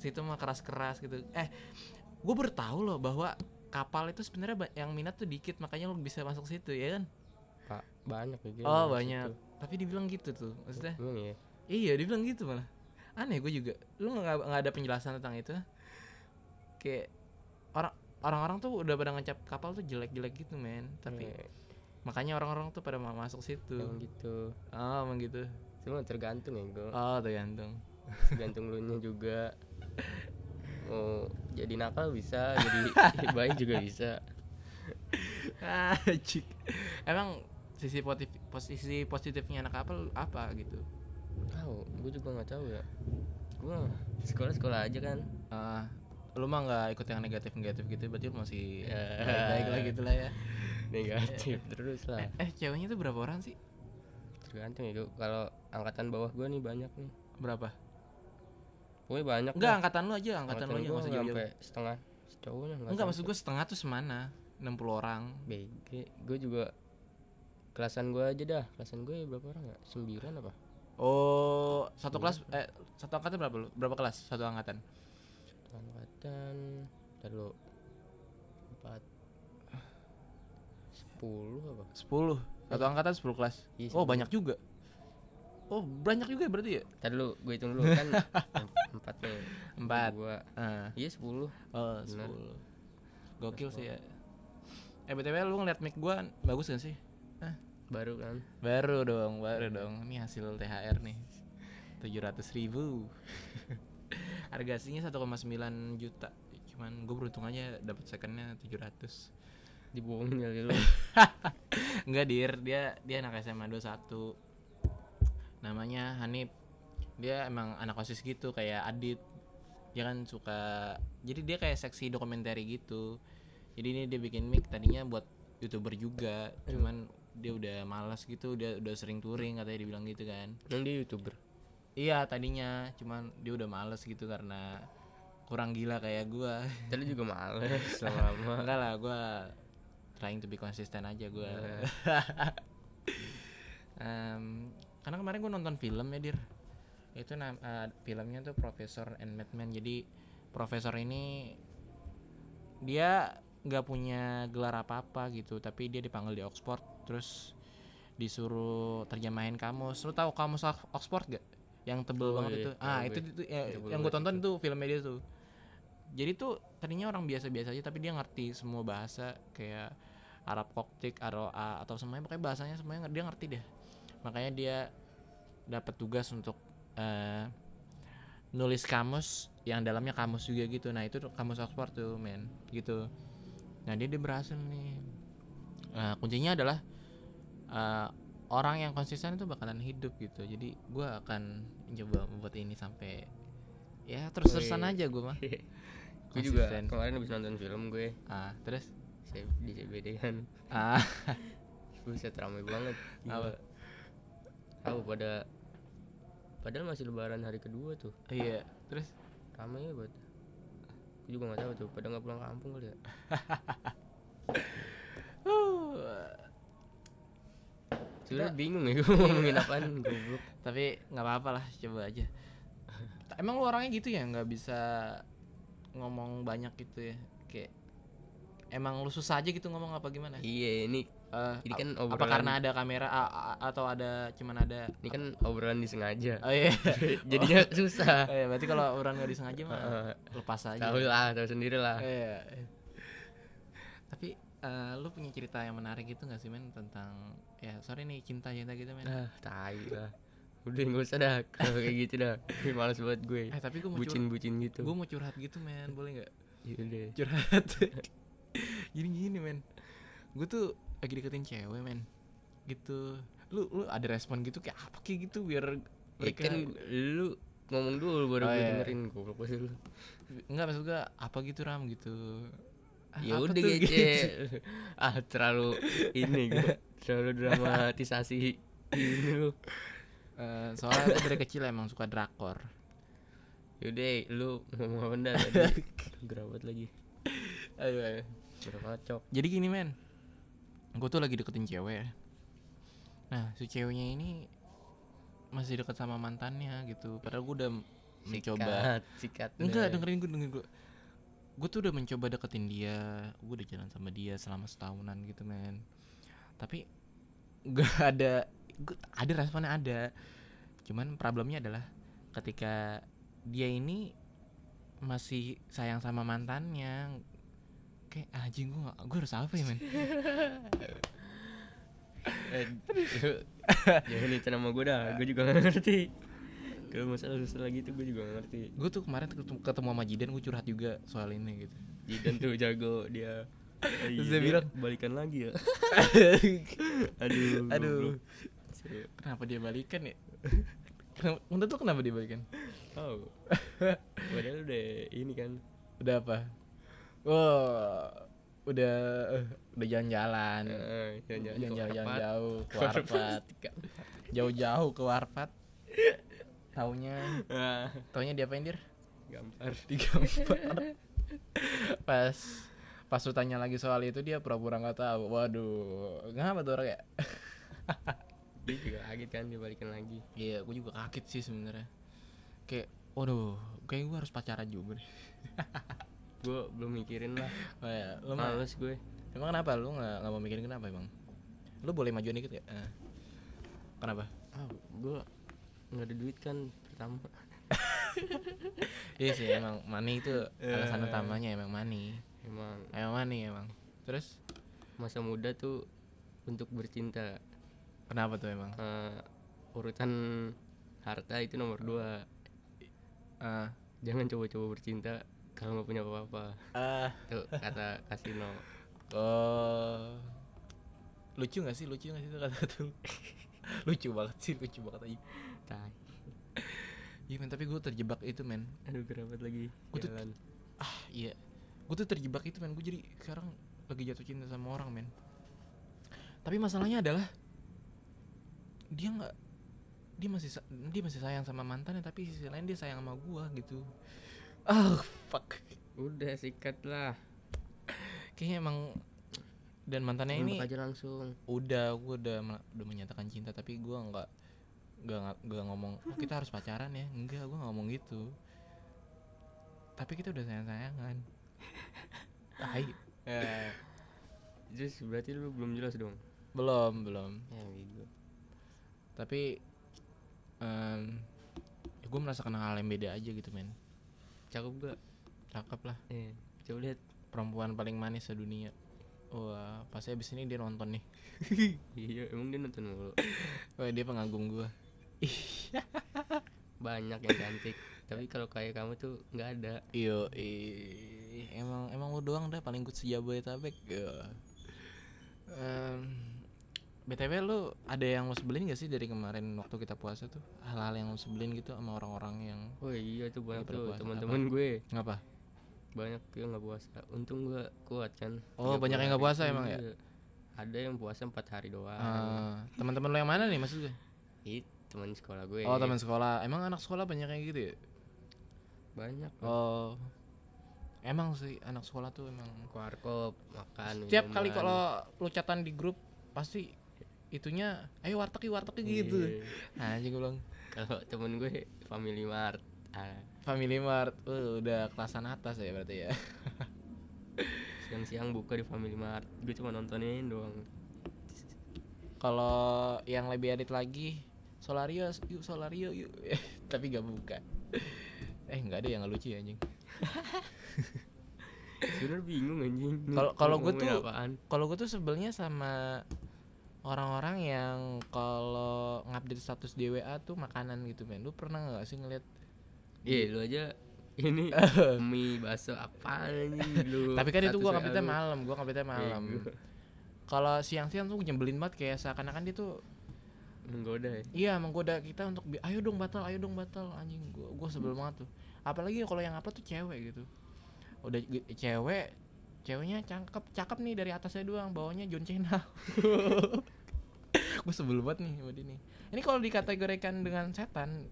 situ mah keras-keras gitu. Eh, gue baru tahu loh bahwa kapal itu sebenarnya ba- yang minat tuh dikit, makanya lu bisa masuk situ ya kan?
pak banyak ya gitu
Oh banyak. Tapi dibilang gitu tuh, maksudnya?
emang ya
Iya, dibilang gitu malah. Aneh gue juga. Lu nggak nggak ada penjelasan tentang itu? Kayak orang orang-orang tuh udah pada ngecap kapal tuh jelek-jelek gitu men. Tapi
Iya,
makanya orang-orang tuh pada mau masuk situ.
emang gitu
Oh, emang gitu.
cuma tergantung ya gua
Oh, tergantung.
gantung lu nya juga mau jadi nakal bisa jadi baik juga bisa
Ah, cik. Emang sisi positif posisi positifnya anak kapal apa gitu?
tahu gue juga nggak tahu ya gue sekolah sekolah aja kan
Ah, lu mah nggak ikut yang negatif negatif gitu berarti lu masih
Ya.
baik lah gitu lah ya
negatif terus lah
eh ceweknya tuh berapa orang sih
tergantung ya Dok. kalau angkatan bawah gua nih banyak nih
berapa
pokoknya banyak
enggak
dah.
angkatan lu aja angkatan, lu aja nggak
gua
usah
nggak
jauh-jauh.
sampai setengah cowoknya
enggak maksud gue setengah tuh semana 60 orang
BG gue juga kelasan gua aja dah kelasan gue berapa orang ya sembilan apa
oh satu kelas eh satu angkatan berapa lu berapa kelas satu angkatan
angkatan terlalu empat sepuluh apa
10 satu angkatan 10 kelas
Iya,
oh
10.
banyak juga oh banyak juga ya berarti ya
Ntar dulu gue hitung dulu kan em- empat nih
Empat.
Gua
Ah.
iya sepuluh
Oh,
Bener.
10. Gokil sih ya. Eh BTW lu ngeliat mic gua bagus gak sih? Hah?
baru kan
Baru dong, baru dong. Ini hasil THR nih. 700 ribu. Harga aslinya 1,9 juta. Cuman gue beruntung aja dapat secondnya 700.
dibohongin kali lu
Enggak dir, dia dia anak SMA 21. Namanya Hanif. Dia emang anak OSIS gitu kayak Adit. Dia kan suka jadi dia kayak seksi dokumenter gitu. Jadi ini dia bikin mic tadinya buat YouTuber juga, cuman dia udah malas gitu, dia udah sering touring katanya dibilang gitu kan.
yang dia youtuber
Iya, tadinya cuman dia udah malas gitu karena kurang gila kayak gua.
tadi juga males lama-lama
Enggak lah, gue trying to be consistent aja gue.
Iya.
karena kemarin gue nonton film ya, Dir. Itu nam- eh, filmnya tuh Profesor and Madman. Jadi Profesor ini dia nggak punya gelar apa-apa gitu, tapi dia dipanggil di Oxford, terus disuruh terjemahin kamus. Lu tahu kamus Ox- Oxford gak? Yang tebel
Tahu
banget
gue,
itu.
Oh, iya, tahu
Ah,
gue.
itu, itu ya,
Tebel
yang gue
banget
tonton itu filmnya dia tuh jadi tuh tadinya orang biasa-biasa aja tapi dia ngerti semua bahasa kayak Arab Koptik Aroa atau semuanya pokoknya bahasanya semuanya nge- dia ngerti deh makanya dia dapat tugas untuk eh, nulis kamus yang dalamnya kamus juga gitu nah itu tuh kamus Oxford tuh men gitu nah dia dia berhasil nih Eh, kuncinya adalah eh, orang yang konsisten itu bakalan hidup gitu jadi gua akan coba membuat ini sampai ya terus terusan
Wih.
aja gue mah
gue iya, juga
Konsisten.
kemarin habis nonton film gue
Ah, terus?
saya di CBD kan
Ah,
buset rame banget
Apa?
gila tahu pada padahal masih lebaran hari kedua tuh
iya. Terus?
rame ya buat gue juga nggak tahu tuh pada nggak pulang kampung kali ya
Huh.
sebenarnya bingung ya
Iya.
gue ngomongin apaan goblok
Tapi nggak apa-apa lah, coba aja. Ta- Emang lu orangnya gitu ya, nggak bisa ngomong banyak gitu ya? Kayak emang lu susah aja gitu ngomong apa gimana?
iya ini
Eh,
ini
a-
kan
apa
obrolan-
karena ada kamera a- a- atau ada cuman ada
ini kan obrolan disengaja
Oh iya.
jadinya susah
Oh, iya, berarti kalau orang nggak disengaja mah
Heeh.
lepas aja.
tahu lah tahu sendiri lah
Iya. Tapi eh, lu punya cerita yang menarik gitu gak sih men tentang ya sorry nih cinta-cinta gitu men.
ah tai lah udah nggak usah dah kalau kayak gitu dah Ih, males banget gue
Eh tapi gue mau curhat,
bucin bucin gitu Ya
gue mau curhat gitu men, boleh nggak?
Yaudah.
Curhat. gini gini men, gue tuh lagi deketin cewek men, gitu. Lu lu ada respon gitu kayak apa kayak gitu biar
Ya
mereka
kan lu ngomong dulu baru
Oh,
gue
iya.
dengerin goblok pasti lu.
nggak maksud gue apa gitu ram gitu. Ah,
Ya
apa
udah
tuh gitu.
gece. ah terlalu ini gue terlalu dramatisasi ini lu.
Eh, soalnya gue dari kecil emang suka drakor.
Yaudah lu ngomong apa dah tadi? Gerabat lagi.
Ayo, ayo.
Udah kacok.
Jadi gini men, gue tuh lagi deketin cewek. Nah si ceweknya ini masih deket sama mantannya gitu. Padahal gue udah mencoba.
Sikat, sikat.
Enggak,
deh.
dengerin gue, dengerin gue. Gue tuh udah mencoba deketin dia, gue udah jalan sama dia selama setahunan gitu men. Tapi gak ada, gua, ada responnya ada. Cuman problemnya adalah ketika dia ini masih sayang sama mantannya, kayak anjing gue, gue harus apa ya men?
Eh, lu- Jangan itu nama gue dah, gue juga gak ngerti. Kalau masalah masalah gitu gue juga gak ngerti.
gue tuh kemarin ketemu, ketemu sama Jidan, gue curhat juga soal ini gitu.
Jidan tuh jago dia. Eh,
Terus
iya,
dia bilang-
balikan lagi ya.
Aduh.
Aduh. goblok. Saya-
Kenapa dia balikan ya? Kenapa, menurut lo kenapa dia balikan?
Oh. Padahal udah ini kan
udah apa oh udah eh, udah jalan-jalan
Eh,
jalan-jalan jalan jauh Iya. ke Warpat jauh-jauh ke Warpat taunya
Ah,
taunya diapain dir
Gambar.
digambar pas pas lu tanya lagi soal itu dia pura-pura nggak tahu waduh ngapa tuh orang ya
Dia juga kaget kan dibalikin lagi.
iya gue juga kaget sih sebenarnya kayak waduh kayak gue harus pacaran juga nih
Gue belum mikirin lah.
oh, ya. lu mah-
Males gue.
emang kenapa lu nggak nggak mau mikirin kenapa emang lu boleh majuin dikit gak Eh. kenapa
Ah, gue nggak ada duit kan pertama.
iya sih emang money itu alasan utamanya emang money
Emang
emang money emang terus
masa muda tuh untuk bercinta.
kenapa tuh emang
Eh, urutan harta itu nomor dua.
ah
Jangan coba-coba bercinta kalau nggak punya apa-apa.
ah
Tuh kata kasino.
Oh. Lucu gak sih? Lucu gak sih itu kata tuh? lucu banget sih, lucu banget aja.
Tai.
Iya men, tapi gue terjebak itu men.
Aduh kerabat lagi.
Gua tuh-
Jalan.
Ah iya, gue tuh terjebak itu men. Gue jadi sekarang lagi jatuh cinta sama orang men. Tapi masalahnya adalah dia nggak dia masih sa- dia masih sayang sama mantannya tapi sisi lain dia sayang sama gua gitu. Ah fuck.
Udah sikat lah.
Kayaknya emang dan mantannya Nah, ini
Nembak aja langsung.
udah gue udah mel- udah menyatakan cinta tapi gue nggak nggak nga- nggak ngomong "Oh, kita harus pacaran ya enggak gue ngomong gitu tapi kita udah sayang sayangan tai
Eh, Terus berarti lu belum jelas dong.
belum belum
Ya gitu.
tapi ya gue merasakan hal yang beda aja gitu men
Cakep gak?
cakep lah
Eh, coba lihat.
perempuan paling manis sedunia wah pasti abis ini dia nonton nih
Iya, emang dia nonton mulu.
wah dia pengagum gue
Banyak yang cantik. Tapi kalau kayak kamu tuh nggak ada.
iyo i- emang emang lu doang dah paling good sejabodetabek Yo. Em, btw lu ada yang lo sebelin gak sih dari kemarin waktu kita puasa tuh hal-hal yang lo sebelin gitu sama orang-orang yang
Oh iya tuh banyak
Nggak
tuh
berpuasa,
teman-teman gue.
ngapa
Banyak yang nggak puasa. Untung gue kuat kan.
Oh, banyak yang nggak puasa emang ya?
Iya. Ada yang puasa empat hari doang.
Eh, teman-teman lo yang mana nih maksud gue
Ih, teman sekolah gue.
oh teman sekolah emang anak sekolah banyak kayak gitu ya?
Banyak.
oh emang sih anak sekolah tuh emang
Warkop, makan.
setiap kali
minuman.
kalau lo catatan di grup pasti itunya ayo warteg yuk, warteg yuk," gitu
Iya.
anjing gue bilang
Kalau temen gue Family Mart. Ah,
Family Mart uh, udah kelasan atas ya berarti ya.
siang-siang buka di Family Mart. Gue cuma nontonin doang.
Kalau yang lebih edit lagi Solario yuk Solario yuk tapi gak buka. eh nggak ada yang nggak lucu ya anjing.
Sebenernya bingung anjing.
Kalau- kalau gue
Ngomongin
tuh-
apaan?
Kalau gue tuh sebelnya sama orang-orang yang kalau ngupdate status di WA tuh makanan gitu men. Lu pernah nggak sih ngeliat?
Iya lu aja ini mie bakso apaan anjing lu.
tapi kan itu
Status
gue
WA
ngupdate
lu.
malam, gue ngupdate malam.
Bego.
Kalau siang-siang tuh nyebelin banget kayak seakan-akan dia tuh
Menggoda ya.
Iya, menggoda kita untuk bi- ayo dong batal, ayo dong batal anjing. Gua gua sebel banget tuh. Apalagi kalau yang apa tuh cewek gitu. Udah ge- cewek, ceweknya cakep, cakep nih dari atasnya doang, bawahnya John Cena. gue sebel banget nih sama dia nih. Ini kalau dikategorikan dengan setan,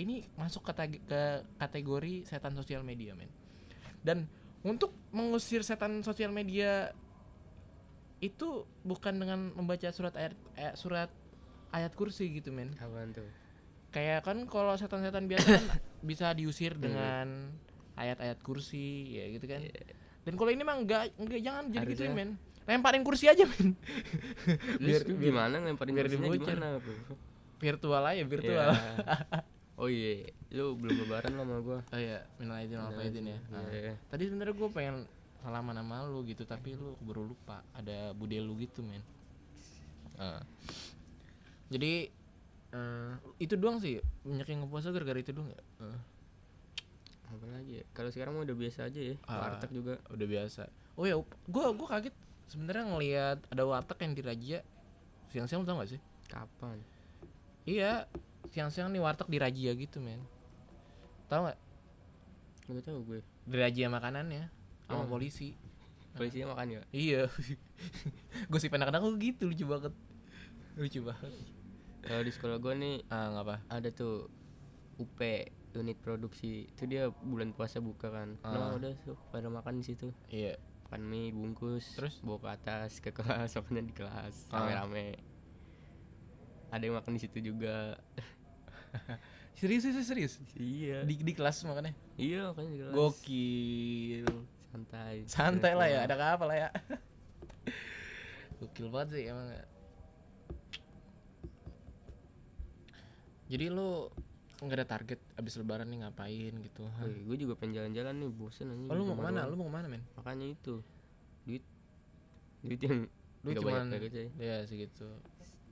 ini masuk kata- ke kategori setan sosial media, men. Dan untuk mengusir setan sosial media itu bukan dengan membaca surat ayat eh, surat ayat kursi gitu, men
Apaan tuh?
kayak kan kalau setan-setan biasa kan bisa diusir dengan ayat-ayat kursi ya gitu kan
Iya.
dan kalau ini mah enggak enggak jangan jadi
Harusnya.
gituin men lemparin kursi aja men
Biar, gimana ngelemparin
biar
kursinya
dibocor.
gimana, Bro?
virtual aja virtual
Iya. Oh iya, lu belum lebaran lah sama gua.
oh iya minal aidin wal faizin ya
Iya.
Ah. tadi sebenarnya gue pengen salaman sama lu gitu tapi lu baru lupa ada bude lu gitu men Ah. jadi eh, itu doang sih banyak yang ngepuasa gara-gara itu doang ya Ah.
Apa lagi ya? Kalau sekarang mah udah biasa aja ya.
Ah.
Warteg juga.
udah biasa oh ya gue gua kaget sebenarnya ngelihat ada warteg yang dirajia siang-siang lu tau gak sih
Kapan?
iya siang-siang nih warteg dirajia gitu men tau gak
nggak tahu gue
Diraja makanannya sama
Hmm.
polisi.
polisinya makan ya
Iya. Gosip anak-anak gue gitu lucu banget. Lucu banget.
kalau di sekolah gue nih
Ah, nggak apa.
ada tuh UP unit produksi itu dia bulan puasa buka kan nah
Ah.
udah tuh pada makan di situ
Iya.
makan mie bungkus
Terus?
bawa ke atas ke kelas makannya di kelas
Ah.
rame-rame ada yang makan di situ juga
Serius serius serius.
iya
Di, di kelas makanya.
iya makannya di kelas
Gokil.
santai
Santai lah ya,
Santai.
ada apa lah ya. Gokil banget sih emang. ya. Jadi lu nggak ada target abis lebaran nih ngapain gitu. Hah?
Wih, gue Iya, juga pengen jalan-jalan nih bosen aja
Oh,
di
lu mau
rumah
kemana?
doang.
Lu mau kemana men?
makanya itu duit duit yang
Lu
Nggak
cuman
banyak-banyak aja.
ya segitu.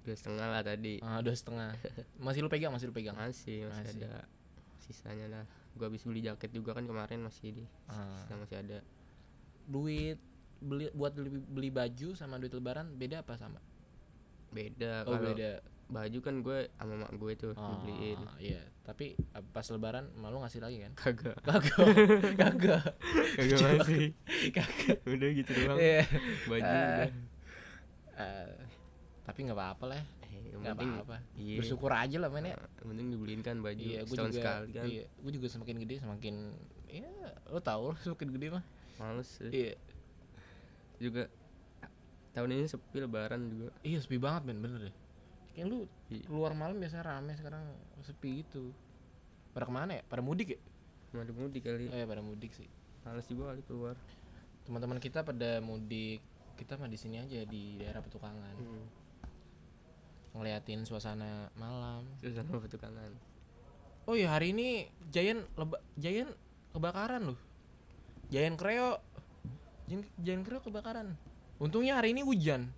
dua setengah lah tadi
Ah, dua setengah. Masih lu pegang, masih lu pegang.
masih masih,
Masih.
ada sisanya lah gue habis beli jaket juga kan kemarin masih di
Ah.
sisa masih ada
Duit beli buat beli, beli baju sama duit lebaran beda apa sama?
beda
Oh,
kalau
beda.
baju kan gue sama mak gue tuh
Ah,
dibeliin
iya, tapi eh, pas lebaran malu ngasih lagi kan?
kagak
Kagak. Kagak.
kagak masih
Kagak.
udah gitu doang
Iya.
baju
Eh,
udah
Eh, tapi nggak apa-apa lah
eh, yang
nggak
penting
apa-apa
iya
bersyukur aja lah men ya
Nah, yang penting dibeliin kan baju
iya gue
setahun
juga
sekali kan
iya gue juga semakin gede semakin ya lo tau lah semakin gede mah
males eh.
iya
juga tahun ini sepi lebaran juga
iya sepi banget men bener deh kayak lu
Iya.
keluar malam biasanya rame sekarang sepi gitu pada kemana ya pada mudik ya
mau ada mudik kali
oh ya pada mudik sih
males juga kali keluar
teman-teman kita pada mudik kita mah di sini aja di daerah petukangan
hmm.
ngeliatin suasana malam
suasana petukangan
Oh iya hari ini Jayan leba, Jayan kebakaran loh. Jayan Kreo. Jayan, Jayan Kreo kebakaran. Untungnya hari ini hujan.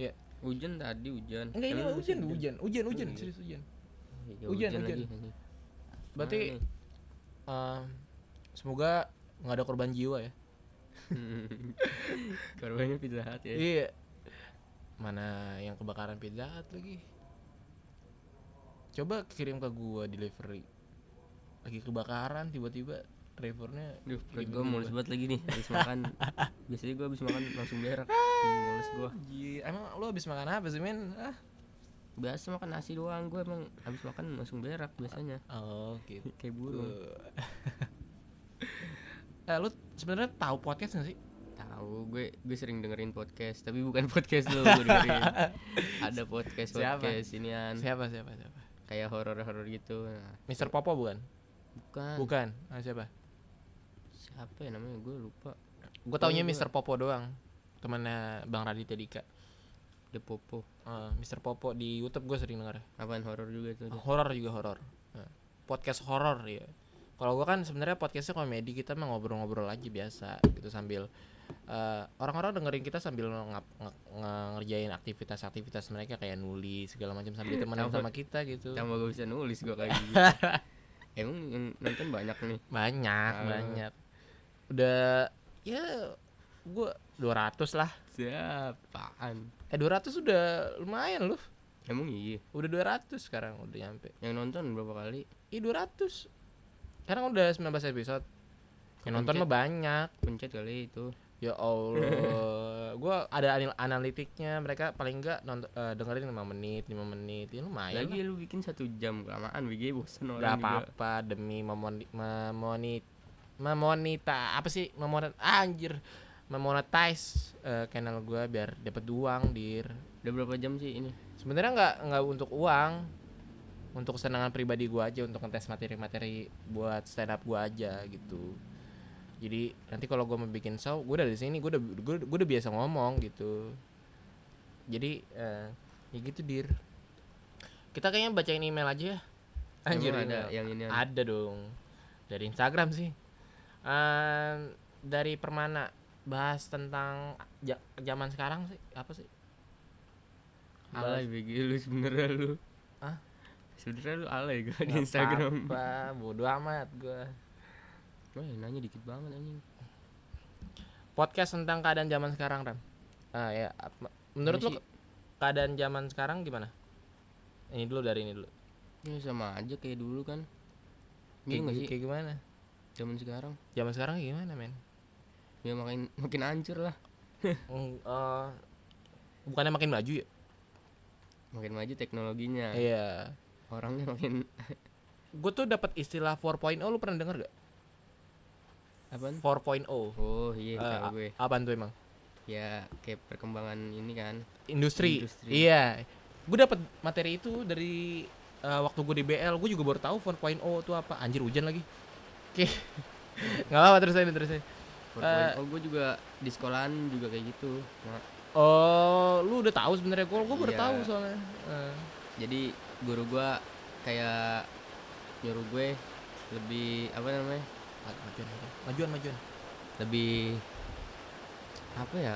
Ya.
hujan tadi hujan
Enggak ini
Kan
mah
lu
hujan,
masih
hujan, hujan, hujan,
iya.
serius hujan.
Iya,
Hujan,
hujan,
hujan.
lagi anjing.
Berarti
Mana
eh, semoga nggak ada korban jiwa ya.
nih? korbannya pizza Hut ya
Iya. Mana yang kebakaran Pizza Hut lagi. Coba kirim ke gua delivery. Lagi kebakaran tiba-tiba drivernya
Duh, perut
kirim ke
gue mulus
gua.
banget lagi nih habis makan. Biasanya gue habis makan langsung berak. Hmm, mulus gue.
Iya, emang lu habis makan apa sih, men? Ah.
Biasa makan nasi doang, gue emang habis makan langsung berak biasanya.
Oh, gitu.
Kayak burung.
eh, lu sebenarnya tahu podcast gak sih?
Tahu gue gue sering dengerin podcast, tapi bukan podcast lu gue dengerin. Ada podcast
Siapa?
podcast inian
Siapa siapa siapa?
kayak horor-horor gitu. Nah,
Mister Popo bukan?
bukan.
Bukan. Ah, siapa?
Siapa ya namanya? Gue lupa.
Gue taunya Mister Popo doang. Temannya Bang Raditya Dika.
The Popo.
Eh, Mister Popo di YouTube gue sering denger.
Apaan horor juga tuh. dia.
Horor juga horor. Eh, Podcast horor ya. Kalau gue kan sebenarnya podcastnya komedi kita mah ngobrol-ngobrol aja biasa gitu sambil eh, orang-orang dengerin kita sambil ngap, nge- nge- ngerjain aktivitas-aktivitas mereka kayak nulis segala macam sambil temenan
Tambah-
sama kita gitu.
Tambah gak bisa nulis gue kayak gitu. Emang yang nonton banyak nih.
banyak
Ah.
banyak udah ya gue 200 lah
Siapaan?
eh 200 udah lumayan loh
Emang iya.
udah 200 sekarang udah nyampe
Yang nonton berapa kali?
ih 200 sekarang udah 19 episode yang nonton mah banyak
Pencet kali itu.
ya allah gue ada anal- analitiknya mereka paling enggak nonton eh, dengerin 5 menit 5 menit ya lumayan
Lagi lu bikin satu jam kelamaan, bikin bosen
lah. gak
orang juga.
apa-apa demi memoni memonit memonita apa sih memonet ah, anjir memonetize eh, channel gue biar dapat uang dir
Udah berapa jam sih ini?
sebenarnya nggak nggak untuk uang untuk kesenangan pribadi gua aja untuk ngetes materi-materi buat stand up gua aja gitu jadi nanti kalau gua mau bikin show gua udah di sini gua udah gua, gua udah biasa ngomong gitu jadi eh, ya gitu dir kita kayaknya bacain email aja ya anjir
Emang ada
ada
yang ini ada.
ada dong dari Instagram sih Ehm, dari Permana bahas tentang ja- zaman sekarang sih apa sih
alay begi lu sebenernya lu.
Hah?
Sebenernya lu alay gua di
Nggak
Instagram.
apa-apa, bodo amat gue
Wah, ya nanya dikit banget anjing.
podcast tentang keadaan zaman sekarang ram ah ya ap- menurut
Ini
lo ke- keadaan zaman sekarang gimana ini dulu dari ini dulu
Ya sama aja kayak dulu kan.
kayak,
Iya nggak
gi-
sih?
kayak gimana
zaman sekarang
Zaman sekarang kayak gimana men?
ya makin makin hancur lah
Mm, eh, bukannya makin maju ya?
makin maju teknologinya
Iya.
orangnya makin
Gue tuh dapat istilah 4.0 lu pernah denger gak?
apa
4.0
oh iya
Eh,
tahu
a-
gue
Apaan tuh emang?
ya kayak perkembangan ini kan
Industri.
Industri.
Iya. Gue dapat materi itu dari eh, waktu gue di BL, gue juga baru tahu 4.0 itu apa. Anjir hujan lagi. Oke. nggak apa-apa terusin terusin.
4.0 gue oh, juga di sekolahan juga kayak gitu Nah,
Oh, lu udah tahu sebenarnya gue gue baru
Iya.
tahu soalnya. Eh,
jadi guru gue kayak nyuruh gue lebih apa namanya
majuan, majuan, majuan, majuan.
lebih apa ya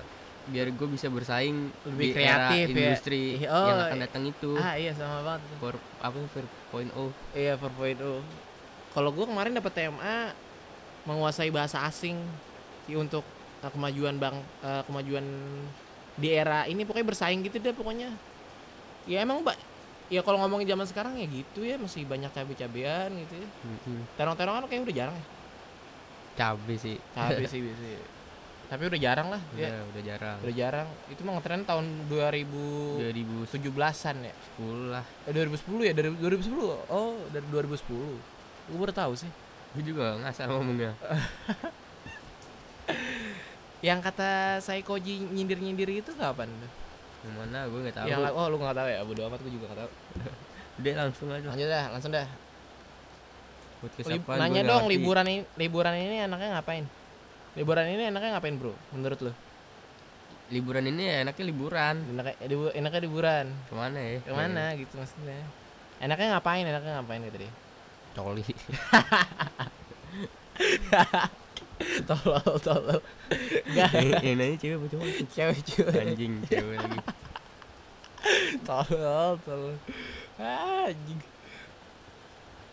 biar gue bisa bersaing
Lebih
di era
kreatif ya.
industri
Ih,
yang
oh,
akan datang itu
Ah iya sama banget.
for apa point oh
Iya 4.0. Kalau gue kemarin dapat TMA menguasai bahasa asing i- untuk eh, kemajuan bang eh, kemajuan di era ini pokoknya bersaing gitu deh pokoknya. Ya emang mbak ya kalau ngomongin zaman sekarang ya gitu ya masih banyak cabe-cabean gitu ya. Terong-terong kan kayak udah jarang ya.
cabe sih
Cabe sih biasanya. Tapi udah jarang lah ya.
udah, udah jarang
Udah jarang. Itu mah ngetren tahun 2017-an
2010
ya.
lah
Eh, 2010 ya dari 2010 oh dari 2010 gue baru tahu sih
gue juga nggak asal ngomongnya
yang kata Saikoji nyindir nyindir itu kapan tuh
yang mana gue nggak tahu
yang la- oh lu nggak tahu ya bodo amat gue juga nggak tahu
udah langsung aja
lanjut dah langsung dah
podcast
Lib-
apaan, gua
nanya
nggak
dong
ngerti.
liburan ini liburan ini enaknya ngapain liburan ini enaknya ngapain bro menurut lu
liburan ini ya enaknya liburan
enaknya, libu- enaknya liburan
kemana ya
kemana gitu maksudnya enaknya ngapain enaknya ngapain gitu deh
Eh, coli
tolol tolol gak
yang nanya cewek apa cowok
cewek cewek
anjing cewek lagi
tolol tolol ah anjing.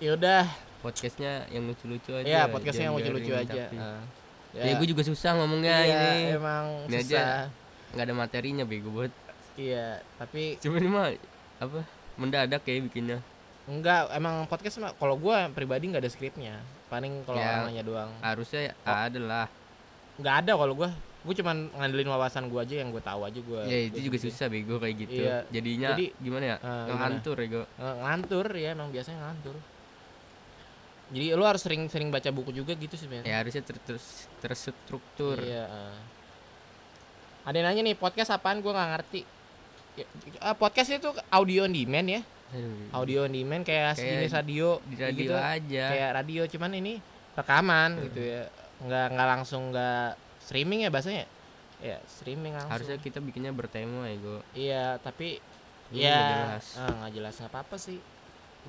ya udah
podcastnya yang lucu-lucu aja
Iya, podcastnya yang
jangan
lucu-lucu
garing,
aja.
tapi-
Ah.
ya, gue juga susah ngomongnya
Iya,
ini
emang
Ini aja.
susah.
nggak ada materinya bego buat
Iya, tapi
cuman ini mah apa mendadak ya bikinnya
enggak emang podcast mah- kalau gua pribadi nggak ada skripnya. Paling kalau
Ya.
orang nanya doang.
harusnya ya
Oh.
ada lah
Nggak ada kalau gua. Gue cuman ngandelin wawasan gua aja yang gue tahu aja gua.
ya itu
gua
juga
sendiri.
susah bego kayak gitu
Iya.
jadinya
Jadi,
gimana ya
eh,
ngelantur ya gue
Eh, ngelantur ya emang biasanya ngelantur. Jadi lu harus sering-sering baca buku juga gitu sebenarnya.
ya harusnya ter- ter- terstruktur
Iya. eh. Ada yang nanya nih podcast apaan gua nggak ngerti. Ya, eh, podcast itu audio on demand ya.
Aduh,
audio on demand kayak
Kayak
sejenis radio
di
gitu.
radio aja Hmm.
kayak radio cuman ini rekaman gitu ya nggak nggak langsung nggak streaming ya bahasanya ya streaming langsung
harusnya kita bikinnya bertema ya gue
iya tapi
Ini
ya
nggak jelas.
eh, nggak jelas nggak apa apa sih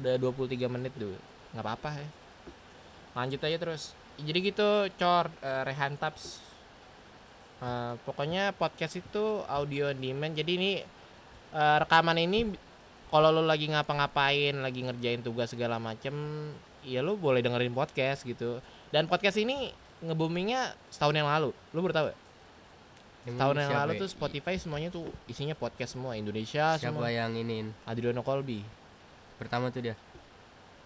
udah 23 menit dulu nggak apa apa ya lanjut aja terus jadi gitu cor eh, Rehan Taps Eh, pokoknya podcast itu audio on demand jadi ini eh, rekaman ini kalau lo lagi ngapa-ngapain lagi ngerjain tugas segala macem ya lo boleh dengerin podcast gitu dan podcast ini nge-boomingnya setahun yang lalu lo baru tahu ya?
Emang
tahun yang
siapa
lalu
ya?
tuh Spotify semuanya tuh isinya podcast semua Indonesia
siapa ya?
semua
yang iniin
Adriano Colby
pertama tuh dia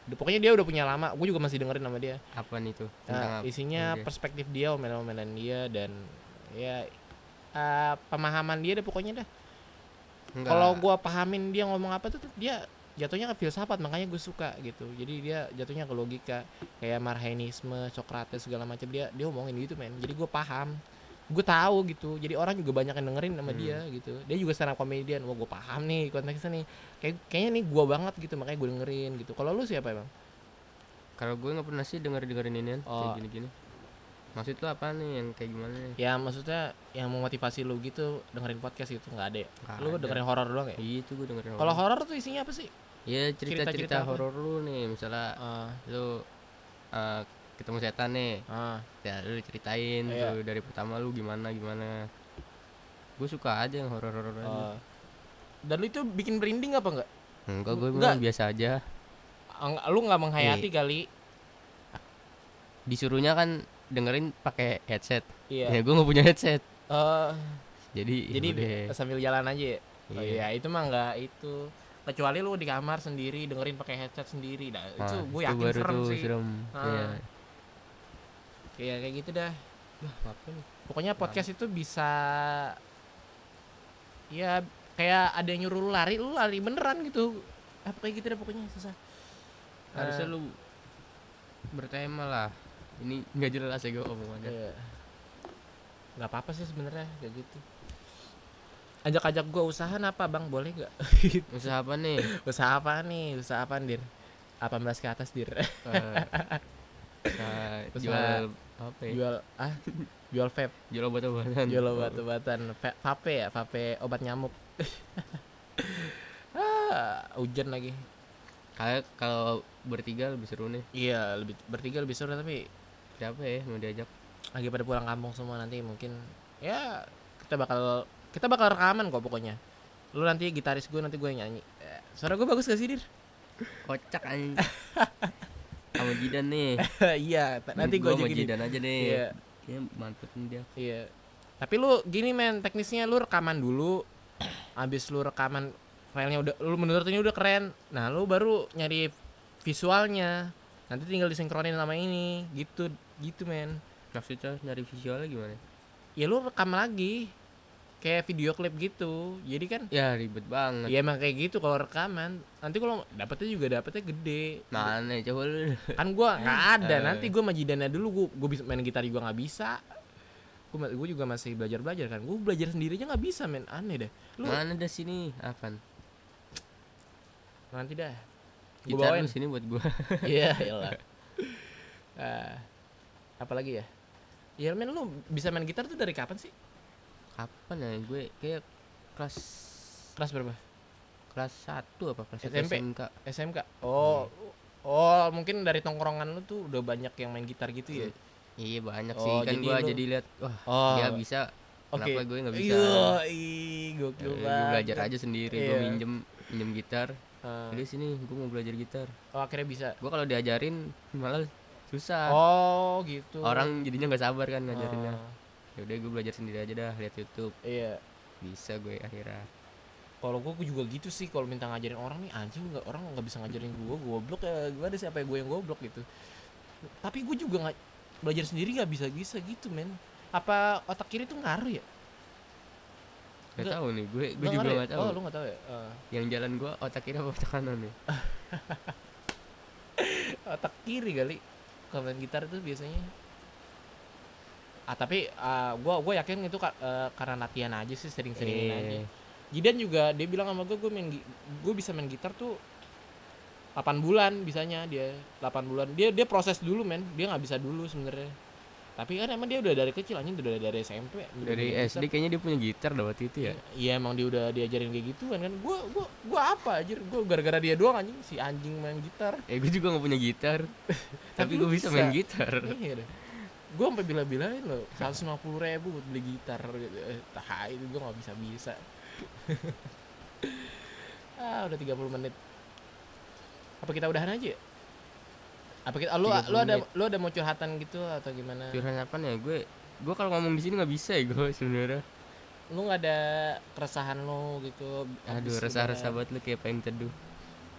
Udah- pokoknya dia udah punya lama gue juga masih dengerin sama dia
apa nih tuh
Nah,
tentang apa?
isinya
Oke.
perspektif dia omelan-omelan dia dan ya eh, pemahaman dia deh pokoknya dah
Enggak.
kalau gua pahamin dia ngomong apa tuh dia jatuhnya ke filsafat makanya gue suka gitu jadi dia jatuhnya ke logika kayak marhenisme socrates segala macam dia dia ngomongin gitu men jadi gue paham gue tahu gitu jadi orang juga banyak yang dengerin sama
Hmm.
dia gitu dia juga stand up comedian wah gue paham nih konteksnya nih kayak kayaknya nih gua banget gitu makanya gue dengerin gitu kalau lu siapa emang
Kalau gue nggak pernah sih denger dengerin ini
Oh.
kayak gini-gini. Maksud lu apa nih yang kayak gimana nih?
ya maksudnya yang memotivasi lu gitu dengerin podcast gitu nggak ada ya
Nggak
lu
ada.
dengerin horor doang ya
Iya itu gue dengerin.
kalau
horor.
horor tuh isinya apa sih
Iya cerita-cerita
cerita-cerita apa?
horor lu nih, misalnya
Ah,
lu eh, ketemu setan nih,
ah.
ya lu ceritain
Iya.
tuh dari pertama lu gimana gimana. Gue suka aja yang horor-horor aja.
Oh. Dan lu itu bikin merinding apa enggak?
Enggak gue
Enggak.
memang biasa aja.
Ang- Lu nggak menghayati kali?
Disuruhnya kan dengerin pakai headset.
Iya.
Ya gue nggak punya headset.
Eh,
Jadi ya
jadi eh,
yaudah.
sambil jalan aja. Ya? Oh,
Iya.
iya, itu mah nggak itu. Kecuali lu di kamar sendiri dengerin pakai headset sendiri. Nah, itu
Nah,
gue
itu
yakin Ah.
baru
serem
tuh
sih.
serem.
Ah.
Iya.
kayak kayak gitu dah
Duh, ngapain nih?
pokoknya podcast itu bisa ya kayak ada yang nyuruh lu lari lu lari beneran gitu apa kayak gitu deh pokoknya susah
harusnya
Eh,
lu bertema lah ini nggak jelas ya gue omongannya
iya. nggak apa-apa sih sebenarnya kayak gitu ajak-ajak gua usaha apa bang boleh gak
usaha apa nih
usaha apa nih usaha apa dir 18 ke atas dir
Eh, usaha
Usaha-
jual apa ya?
jual ah jual vape
jual obat-obatan
jual obat-obatan Va- vape ya vape obat nyamuk ah, hujan lagi
kayak kalau bertiga lebih seru nih
iya lebih bertiga lebih seru tapi
siapa ya mau diajak
lagi pada pulang kampung semua nanti mungkin ya kita bakal kita bakal rekaman kok pokoknya lu nanti gitaris gue nanti gue yang nyanyi Eh, suara gue bagus gak sih dir
kocak anjing sama Jidan nih
iya ta- nanti gue
Hmm, Gua sama
jadi
Jidan aja deh
iya
Kayaknya mantep nih dia
iya tapi lu gini men teknisnya lu rekaman dulu abis lu rekaman filenya udah lu menurut ini udah keren nah lu baru nyari visualnya nanti tinggal disinkronin sama ini gitu gitu men
maksudnya nyari visualnya gimana
ya lu rekam lagi kayak video klip gitu jadi kan
ya ribet banget
Iya emang kayak gitu kalau rekaman. Nanti kalau dapetnya juga dapetnya gede.
mana coba lu
Kan gua nggak ada.
Eh.
Nanti gua majidannya dulu gua gua bisa main gitar juga nggak bisa. Gua, ma- gua juga masih belajar-belajar kan. Gua belajar sendiri aja nggak bisa main aneh deh. Lu
mana dah sini apaan
nanti dah. Gua
gitar
bawain.
lu sini buat gua
Iya, iyalah. Eh, apalagi ya? Ya men lu bisa main gitar tuh dari kapan sih?
kapan ya gue kayak kelas
Kelas berapa?
kelas 1 apa kelas
SMP?
SMP SMK
SMK. Oh. Oh, mungkin dari tongkrongan lu tuh udah banyak yang main gitar gitu ya.
iya banyak
Oh,
sih kan
jadi
gua
lu-
jadi lihat wah
Oh.
dia bisa eh,
Oke.
kenapa gue nggak bisa
Yoi,
Ya,
gokil
gue
banget.
belajar aja sendiri gue
Iya.
minjem minjem gitar
Ah.
Jadi sini gue mau belajar gitar
Oh, akhirnya bisa.
gue kalau diajarin malah susah
Oh, gitu.
Ah. orang jadinya nggak sabar kan
Ah,
ngajarinnya ya udah gue belajar sendiri aja dah lihat YouTube
iya.
bisa gue akhirnya
Kalau gue juga gitu sih kalau minta ngajarin orang nih anjing nggak orang nggak bisa ngajarin gue goblok ya gimana siapa gue yang goblok gitu. Tapi gue juga nggak belajar sendiri nggak bisa bisa gitu men. Apa otak kiri tuh ngaruh ya?
gak
Nggak-
tahu nih gue gue
Nggak
juga
ngaruh ya?
nggak tahu
Oh lu nggak tahu ya? Ah.
yang jalan gue otak kiri apa otak kanan nih
otak kiri kali kalau main gitar tuh biasanya ah tapi ah, gua gua yakin itu ka- eh, karena latihan aja sih sering-seringin aja
Eh,
Jidan juga dia bilang sama gue gue main gi- gue bisa main gitar tuh 8 bulan bisanya dia 8 bulan dia dia proses dulu men dia nggak bisa dulu sebenarnya tapi kan emang dia udah dari kecil anjing udah dari SMP udah
dari
punya
SD kayaknya dia punya gitar dah waktu itu ya
gitar. iya emang dia udah diajarin kayak gituan kan gue gua gua apa anjir gue gara-gara dia doang anjing si anjing main gitar
eh gue juga nggak punya gitar tapi
Iya. lu
gue bisa main gitar
iya gue sampai bila-bilain loh 150 ribu buat beli gitar gitu Eh, tai itu gue nggak bisa bisa ah udah 30 menit apa kita udahan aja ya? apa kita ah, lu
30
lu ada
menit.
lu ada mau curhatan gitu atau gimana
curhat apa ya gue gue kalau ngomong di sini nggak bisa ya gue sebenarnya
lu nggak ada keresahan lu gitu
aduh
habis lebaran?
resah-resah banget lu kayak pengen teduh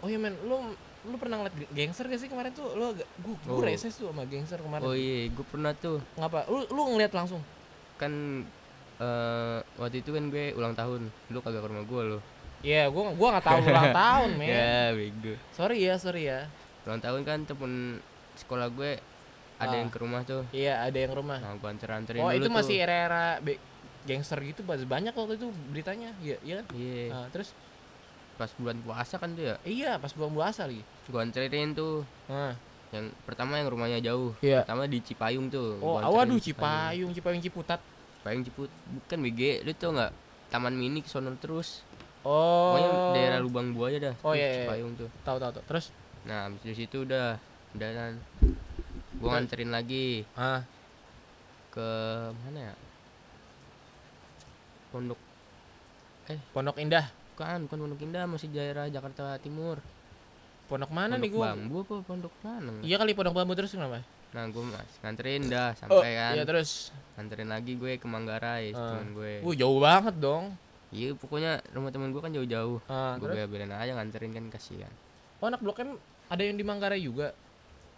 oh iya men lu lu pernah ngeliat ge- gangster gak sih kemarin tuh lu agak gue gue
Oh.
reses tuh sama gangster kemarin
oh iya gue pernah tuh
ngapa lu lu ngeliat langsung
kan eh waktu itu kan gue ulang tahun lu kagak ke rumah gue lo
Iya, gue gua nggak tahu ulang tahun, men.
ya bego
Sorry ya, sorry ya.
ulang tahun kan temen sekolah gue ada
Ah.
yang ke rumah tuh
Iya, ada yang rumah.
nah gue anter anterin
Oh,
dulu
itu
tuh.
masih era-era be- gangster gitu pas- banyak waktu itu beritanya. Iya, iya kan?
iya
Nah, terus
pas bulan puasa kan tuh ya
iya pas bulan puasa lagi.
gue anterin tuh
Nah,
yang pertama yang rumahnya jauh
iya.
pertama di Cipayung tuh
Oh,
Gua
aw, aduh
anterin di Cipayung
Cipayung, Cipayung Ciputat.
Cipayung Ciput bukan BG lu tau nggak taman mini kesono terus
Oh.
pokoknya daerah lubang buaya dah
Oh,
tuh
iya, iya, iya.
Cipayung tuh
Tahu tahu tahu. Terus
nah abis dari situ udah udah kan gue
Udah.
nganterin lagi
ah,
ke mana ya pondok
Pondok Indah.
kan bukan pondok indah masih daerah Jakarta Timur
Pondok mana
pondok
nih gua?
bambu apa pondok mana
Iya kali pondok bambu terus kenapa?
nah gue mas nganterin
Oh,
dah sampai kan
iya terus.
nganterin lagi gue ke Manggarai
Ah.
temen gue
Wuh, jauh banget dong.
iya pokoknya rumah temen gue kan jauh-jauh
Ah,
gue
terus.
bela-belain aja nganterin kan kasihan
Oh, anak Blok M ada yang di Manggarai juga.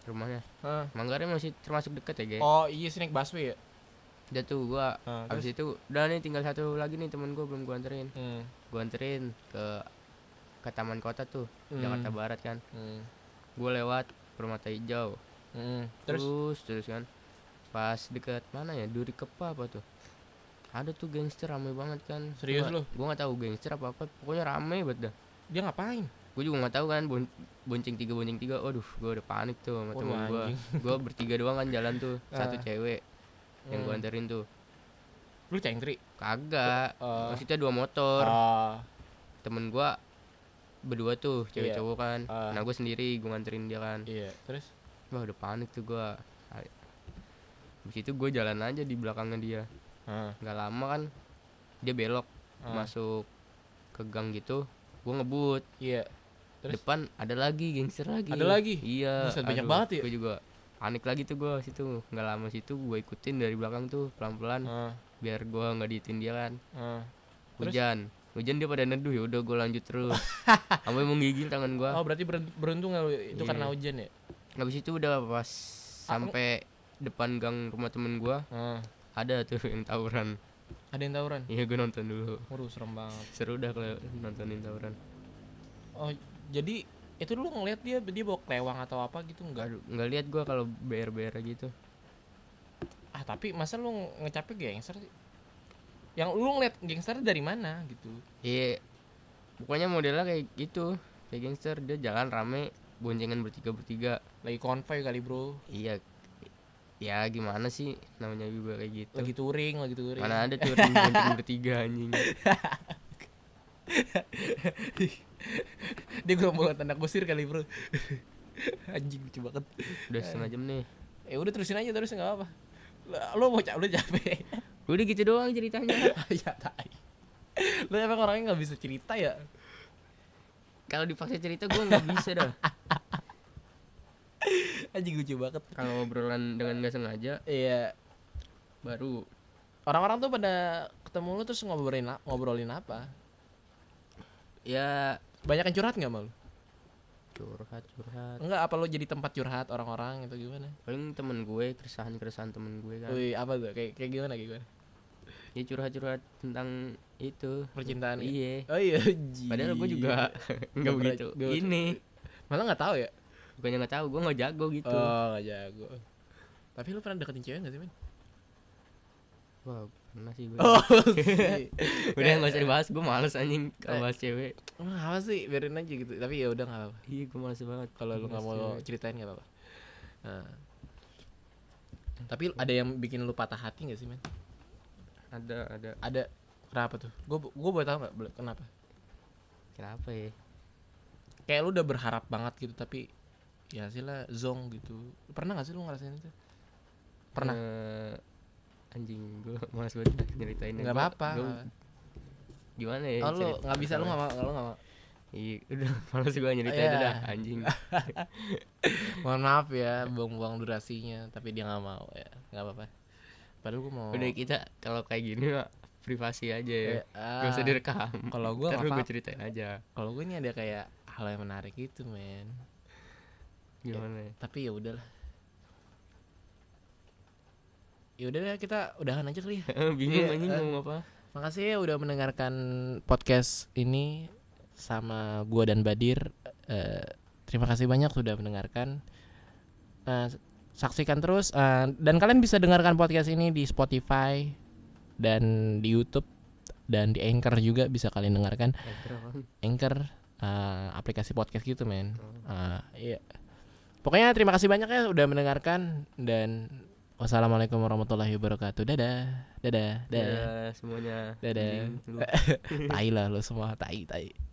rumahnya
Hah.
Manggarai masih termasuk deket ya guys
Oh iya snack busway ya.
udah tuh gua
Ah,
abis itu udah nih tinggal satu lagi nih temen gua belum gua anterin
Hmm.
gua anterin ke ke taman kota tuh
Hmm.
Jakarta Barat kan
Hmm.
gua lewat permata hijau
Hmm.
terus
Terus
terus, kan pas deket mana ya duri kepa apa tuh ada tuh gangster rame banget kan
Serius
Gua-
lu?
gua nggak tahu gangster apa apa pokoknya rame banget dah
dia ngapain?
gue juga nggak tahu kan bon- bonceng tiga bonceng tiga waduh gue udah panik tuh sama
Waduh,
temen gue gue bertiga doang kan jalan tuh satu
Oh, Ah.
cewek yang gue
Hmm.
anterin tuh
Lu cengtri.
kagak
Oh.
maksudnya dua motor
Oh.
temen gue berdua tuh cewek
Iya.
cowok kan
Ah.
nah gue sendiri gue nganterin dia kan
Iya, terus
wah udah panik tuh gue Habis itu gue jalan aja di belakangnya dia
Heeh.
nggak lama kan dia belok
Ah.
masuk ke gang gitu gue ngebut
Iya. Terus?
depan ada lagi gangster lagi
Ada lagi?
iya
Buset, banyak banget ya?
gue juga panik lagi tuh gue situ nggak lama situ gue ikutin dari belakang tuh pelan pelan
Heeh.
biar gue nggak diitin dia kan
Heeh. Ah. Terus?
hujan hujan dia pada neduh ya udah gue lanjut terus sampai menggigil tangan gue
Oh, berarti beren- beruntung nggak lu itu
Iya.
karena hujan ya?
habis itu udah pas sampai depan gang rumah temen gue
Heeh.
ada tuh yang tawuran
Ada yang tawuran.
iya gue nonton dulu
Waduh, serem banget.
seru dah kalau nontonin tawuran
Oh, jadi itu lu ngeliat dia dia bawa kelewang atau apa gitu enggak?
Aduh, nggak lihat gue kalau br br gitu
Ah, tapi masa lu nge- ngecapek gangster sih? Yang lu ngeliat gangster dari mana gitu?
Iya. Pokoknya modelnya kayak gitu, kayak gangster dia jalan rame, boncengan bertiga bertiga.
Lagi konvoy kali, Bro.
Iya. Ya gimana sih namanya juga kayak gitu.
Lagi touring, lagi touring.
Mana ada tuh ring bonceng bertiga anjing.
dia gerombolan anak bosir kali, Bro. Anjing lucu banget.
Udah setengah jam nih.
Eh udah terusin aja terus nggak apa-apa. Lo mau capek, lo capek.
Udah gitu doang ceritanya.
ya tai. Lo emang orangnya nggak bisa cerita ya?
Kalau dipaksa cerita gua nggak bisa dah.
Anjing lucu banget.
Kalau obrolan dengan nggak sengaja
Iya.
baru
Orang-orang tuh pada ketemu lo terus ngobrolin a- ngobrolin apa?
ya
Banyak yang curhat nggak malu?
curhat curhat.
Enggak apa lo jadi tempat curhat orang-orang gitu gimana?
Paling temen gue keresahan keresahan temen gue kan.
Wih apa tuh? Kayak kayak gimana kayak gimana?
Dia curhat curhat tentang itu.
Percintaan. gitu?
Iya.
Oh iya.
Padahal gue
jijik.
juga nggak
Nggak
begitu.
pernah- nggak-
Ini
malah nggak tahu ya.
bukannya nggak tahu, gue nggak jago gitu.
Oh nggak jago. Tapi lo pernah deketin cewek nggak sih, men?
Wah, pernah sih gue.
Oh,
Udah nggak usah dibahas, gue males
Eh.
anjing kalau bahas cewek.
apa sih? Biarin aja gitu. Tapi ya udah nggak apa-apa.
Iya, gue males banget.
kalau lu nggak
bahas
mau
cewek.
ceritain nggak apa-apa Nah. tapi ada yang bikin lu patah hati nggak sih men
ada ada.
ada kenapa tuh gue gue boleh tahu nggak Boleh- kenapa
Kenapa ya?
kayak lu udah berharap banget gitu tapi ya sih lah zong gitu Lu pernah nggak sih lu ngerasain itu pernah
Eh, anjing gue males banget nyeritain.
nggak apa-apa
Gua- Gimana ya?
oh, lu
cerita-
nggak bisa lu nggak
cerita-
mau lu nggak mau
Iya, udah males gue nyeritain
Iya.
itu dah anjing.
mohon maaf ya buang-buang durasinya tapi dia nggak mau ya nggak apa-apa padahal gue mau
Udah kita kalau kayak gini mah privasi aja ya.
Kayak,
Gak usah
ah,
direkam.
kalau gue
Ntar
nggak
lu gue
apa
ceritain aja.
kalau gue ini ada kayak hal yang menarik gitu men
Gimana ya?
tapi ya udahlah ya udahlah kita udahan aja kali ya
Bingung
Iya,
anjing
eh.
ngomong apa?
makasih ya udah mendengarkan podcast ini sama gua dan Badir Eh, terima kasih banyak sudah mendengarkan Eh, saksikan terus eh, dan kalian bisa dengarkan podcast ini di Spotify dan di YouTube dan di Anchor juga bisa kalian dengarkan
Eh, terus.
Anchor eh, aplikasi podcast gitu men Eh, iya pokoknya terima kasih banyak ya udah mendengarkan dan wassalamualaikum warahmatullahi wabarakatuh dadah dadah dadah
Dadah semuanya.
Iya, Dadah.
Anjing, lu.
tai lah lo semua tai tai